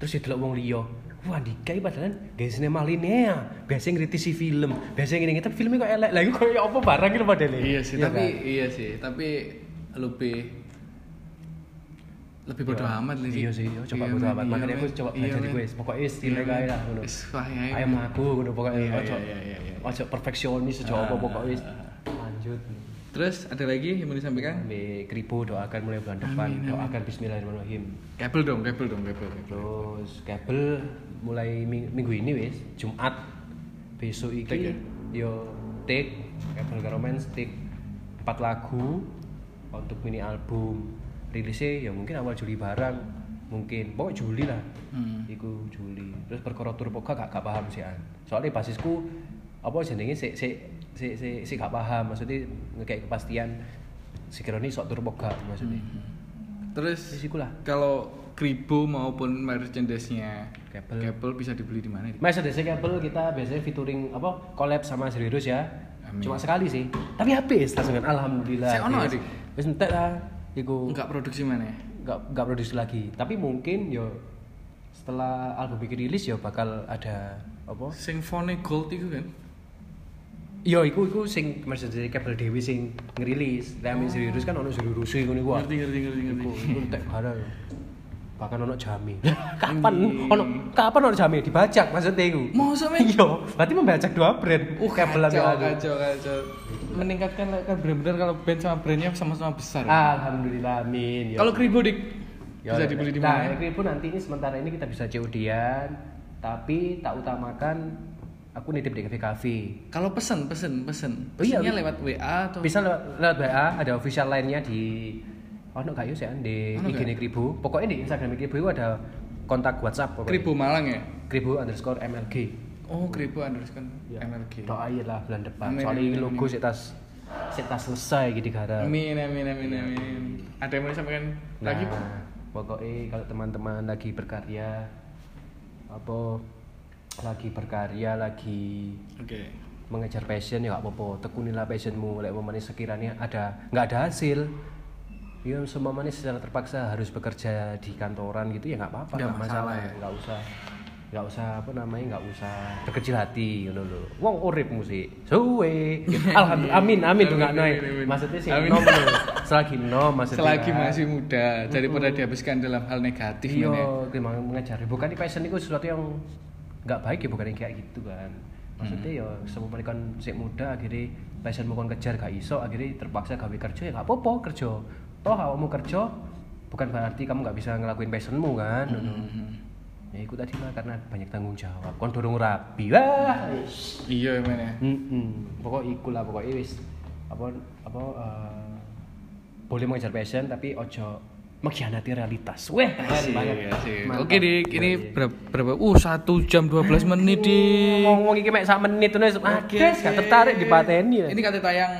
S2: terus didelok wong liya. Wah Andika ini padahal biasanya malinea, biasanya ngritisi film, biasanya ngene tapi filmnya kok elek. Lah iku koyo apa barang gitu padahal.
S1: Iya sih,
S2: Iya
S1: tapi
S2: kan?
S1: iya sih, tapi lebih lebih bodo amat nih.
S2: Iya sih, yo coba bodo amat. Makanya aku
S1: Iya,
S2: coba belajar di gue. Pokoknya istilahnya kae lah ngono.
S1: Wis ya, wae ae.
S2: Ayo mlaku ngono pokoknya
S1: Iya,
S2: ojo.
S1: iya, iya, iya, Ah, iya.
S2: Ojo perfeksionis ojo apa pokoknya wis. Lanjut.
S1: Terus ada lagi yang mau disampaikan?
S2: Ambil kripo doakan mulai bulan depan, doakan bismillahirrahmanirrahim.
S1: Kabel dong, kabel dong, kabel. kabel.
S2: Terus kabel mulai ming- minggu ini wis, Jumat besok
S1: Take ya?
S2: iki yo take kabel karo men stick empat lagu untuk mini album rilisnya ya mungkin awal Juli barang mungkin pokok Juli lah
S1: Hmm.
S2: iku Juli terus perkara tur poka gak, gak paham sih an soalnya basisku apa jenenge sik sik sik sik sik gak paham maksudnya ngekek kepastian si Kironi sok tur poka maksudnya
S1: Hmm. Terus
S2: Wis iku lah
S1: kalau kribo maupun merchandise-nya
S2: Kabel.
S1: kabel bisa dibeli di mana? Di?
S2: Mas DC Cable kita biasanya featuring apa collab sama Zeroirus ya.
S1: Amin.
S2: Cuma sekali sih. Tapi habis langsung kan alhamdulillah.
S1: Saya ono,
S2: Habis.
S1: Adik.
S2: Wis entek lah iku
S1: Enggak produksi mana ya?
S2: enggak enggak produksi lagi. Tapi mungkin yo setelah album iki rilis yo bakal ada apa?
S1: Symphony Gold itu kan?
S2: Yo Iya, iku iku sing Mas DC Cable Dewi sing ngerilis. Lah oh. Zeroirus kan ono Zeroirus iku niku. ah.
S1: Ngerti, ngerti, ngerti, ngerti.
S2: Iku iku entek barang. Bahkan ono jami. kapan ono kapan ono jami dibajak maksudnya iku.
S1: Masa, men?
S2: Iya, berarti membajak dua brand.
S1: Uh,
S2: Cable ambil
S1: kacau,
S2: aku.
S1: kacau, kacau. kan, Meningkatkan kan benar-benar kalau band sama brandnya sama-sama besar.
S2: Ah, Alhamdulillah, amin. Ya.
S1: Kalau kribo dik
S2: Ya,
S1: bisa
S2: ya.
S1: dibeli di
S2: Nah,
S1: mana?
S2: Kribo nanti ini sementara ini kita bisa COD-an, tapi tak utamakan aku nitip di KVKV.
S1: Kalau pesen, pesen, pesen.
S2: Oh, iya,
S1: Pesennya
S2: Wi.
S1: lewat WA atau
S2: Bisa lewat, lewat BA, ada official lainnya di Oh, no, ya? kayu saya di
S1: Ono
S2: IG
S1: nggak?
S2: Kribo. Pokoknya di Instagram Kribo itu ada kontak WhatsApp pokoknya.
S1: kribo Malang ya?
S2: Kribo underscore MLG. Iya.
S1: Oh, kribo underscore
S2: Ya.
S1: MLG.
S2: Doain lah bulan depan.
S1: Amin,
S2: Soalnya
S1: amin,
S2: logo sik tas sik tas selesai gitu gara.
S1: Amin, amin, amin, amin. Ada yang mau disampaikan
S2: Nah,
S1: Hmm. lagi? Pak?
S2: pokoknya kalau teman-teman lagi berkarya apa lagi berkarya lagi
S1: Oke.
S2: mengejar passion ya gak apa-apa tekunilah passionmu lek umpamane sekiranya ada nggak ada hasil ya umpamane secara terpaksa harus bekerja di kantoran gitu ya nggak apa-apa
S1: Nggak
S2: nggak
S1: masalah ya.
S2: nggak usah nggak usah apa namanya nggak usah berkecil hati gitu loh wong urip musik suwe alhamdulillah amin amin tuh nggak
S1: Amin,
S2: noy
S1: amin, amin.
S2: maksudnya sih
S1: Amin.
S2: nom lho. selagi nom maksudnya
S1: Selagi
S2: kan.
S1: masih muda, daripada dihabiskan dalam hal negatif
S2: Iya,
S1: ya. mana?
S2: gimana mengajari. Bukan di passion itu sesuatu yang nggak baik ya, bukan yang kayak gitu kan. Maksudnya
S1: Hmm.
S2: ya, semua mereka sik muda akhirnya passion mau kejar gak iso, akhirnya terpaksa gawe kerja ya nggak apa-apa kerja. Toh kamu kerja bukan berarti kamu nggak bisa ngelakuin passionmu kan.
S1: Hmm,
S2: Ya ikut tadi lah karena banyak tanggung jawab. Kon dorong rapi lah.
S1: Iya, mana?
S2: Mm-mm. Pokok iku lah pokoknya wis apa apa eh, boleh mengejar passion tapi ojo mengkhianati realitas. Weh, keren
S1: Asik,
S2: banget.
S1: asik.
S2: Mantap.
S1: Oke dik, ini
S2: Iya, iya.
S1: berapa? berapa? Uh, 1 jam 12 menit dik.
S2: ngomong-ngomong iki mek sak menit ngono wis
S1: Oke,
S2: ades gak
S1: oke.
S2: tertarik dipateni. ya.
S1: Ini kata tayang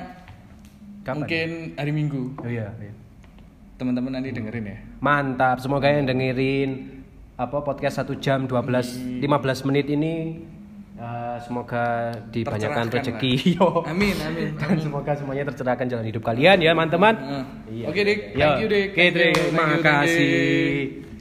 S2: Kapan?
S1: mungkin hari Minggu.
S2: Oh iya, iya.
S1: Teman-teman nanti dengerin ya.
S2: Mantap, semoga yang dengerin apa podcast 1 jam 12
S1: Iya.
S2: 15 menit ini eh, semoga dibanyakan
S1: Tercerahkan
S2: rezeki.
S1: lah.
S2: Yo.
S1: Amin, amin.
S2: Dan semoga semuanya tercerahkan jalan hidup kalian ya, teman-teman.
S1: Heeh.
S2: Iya.
S1: Oke dik,
S2: Yo.
S1: thank you dik.
S2: Oke,
S1: Thank you, thank you,
S2: terima
S1: thank you.
S2: kasih.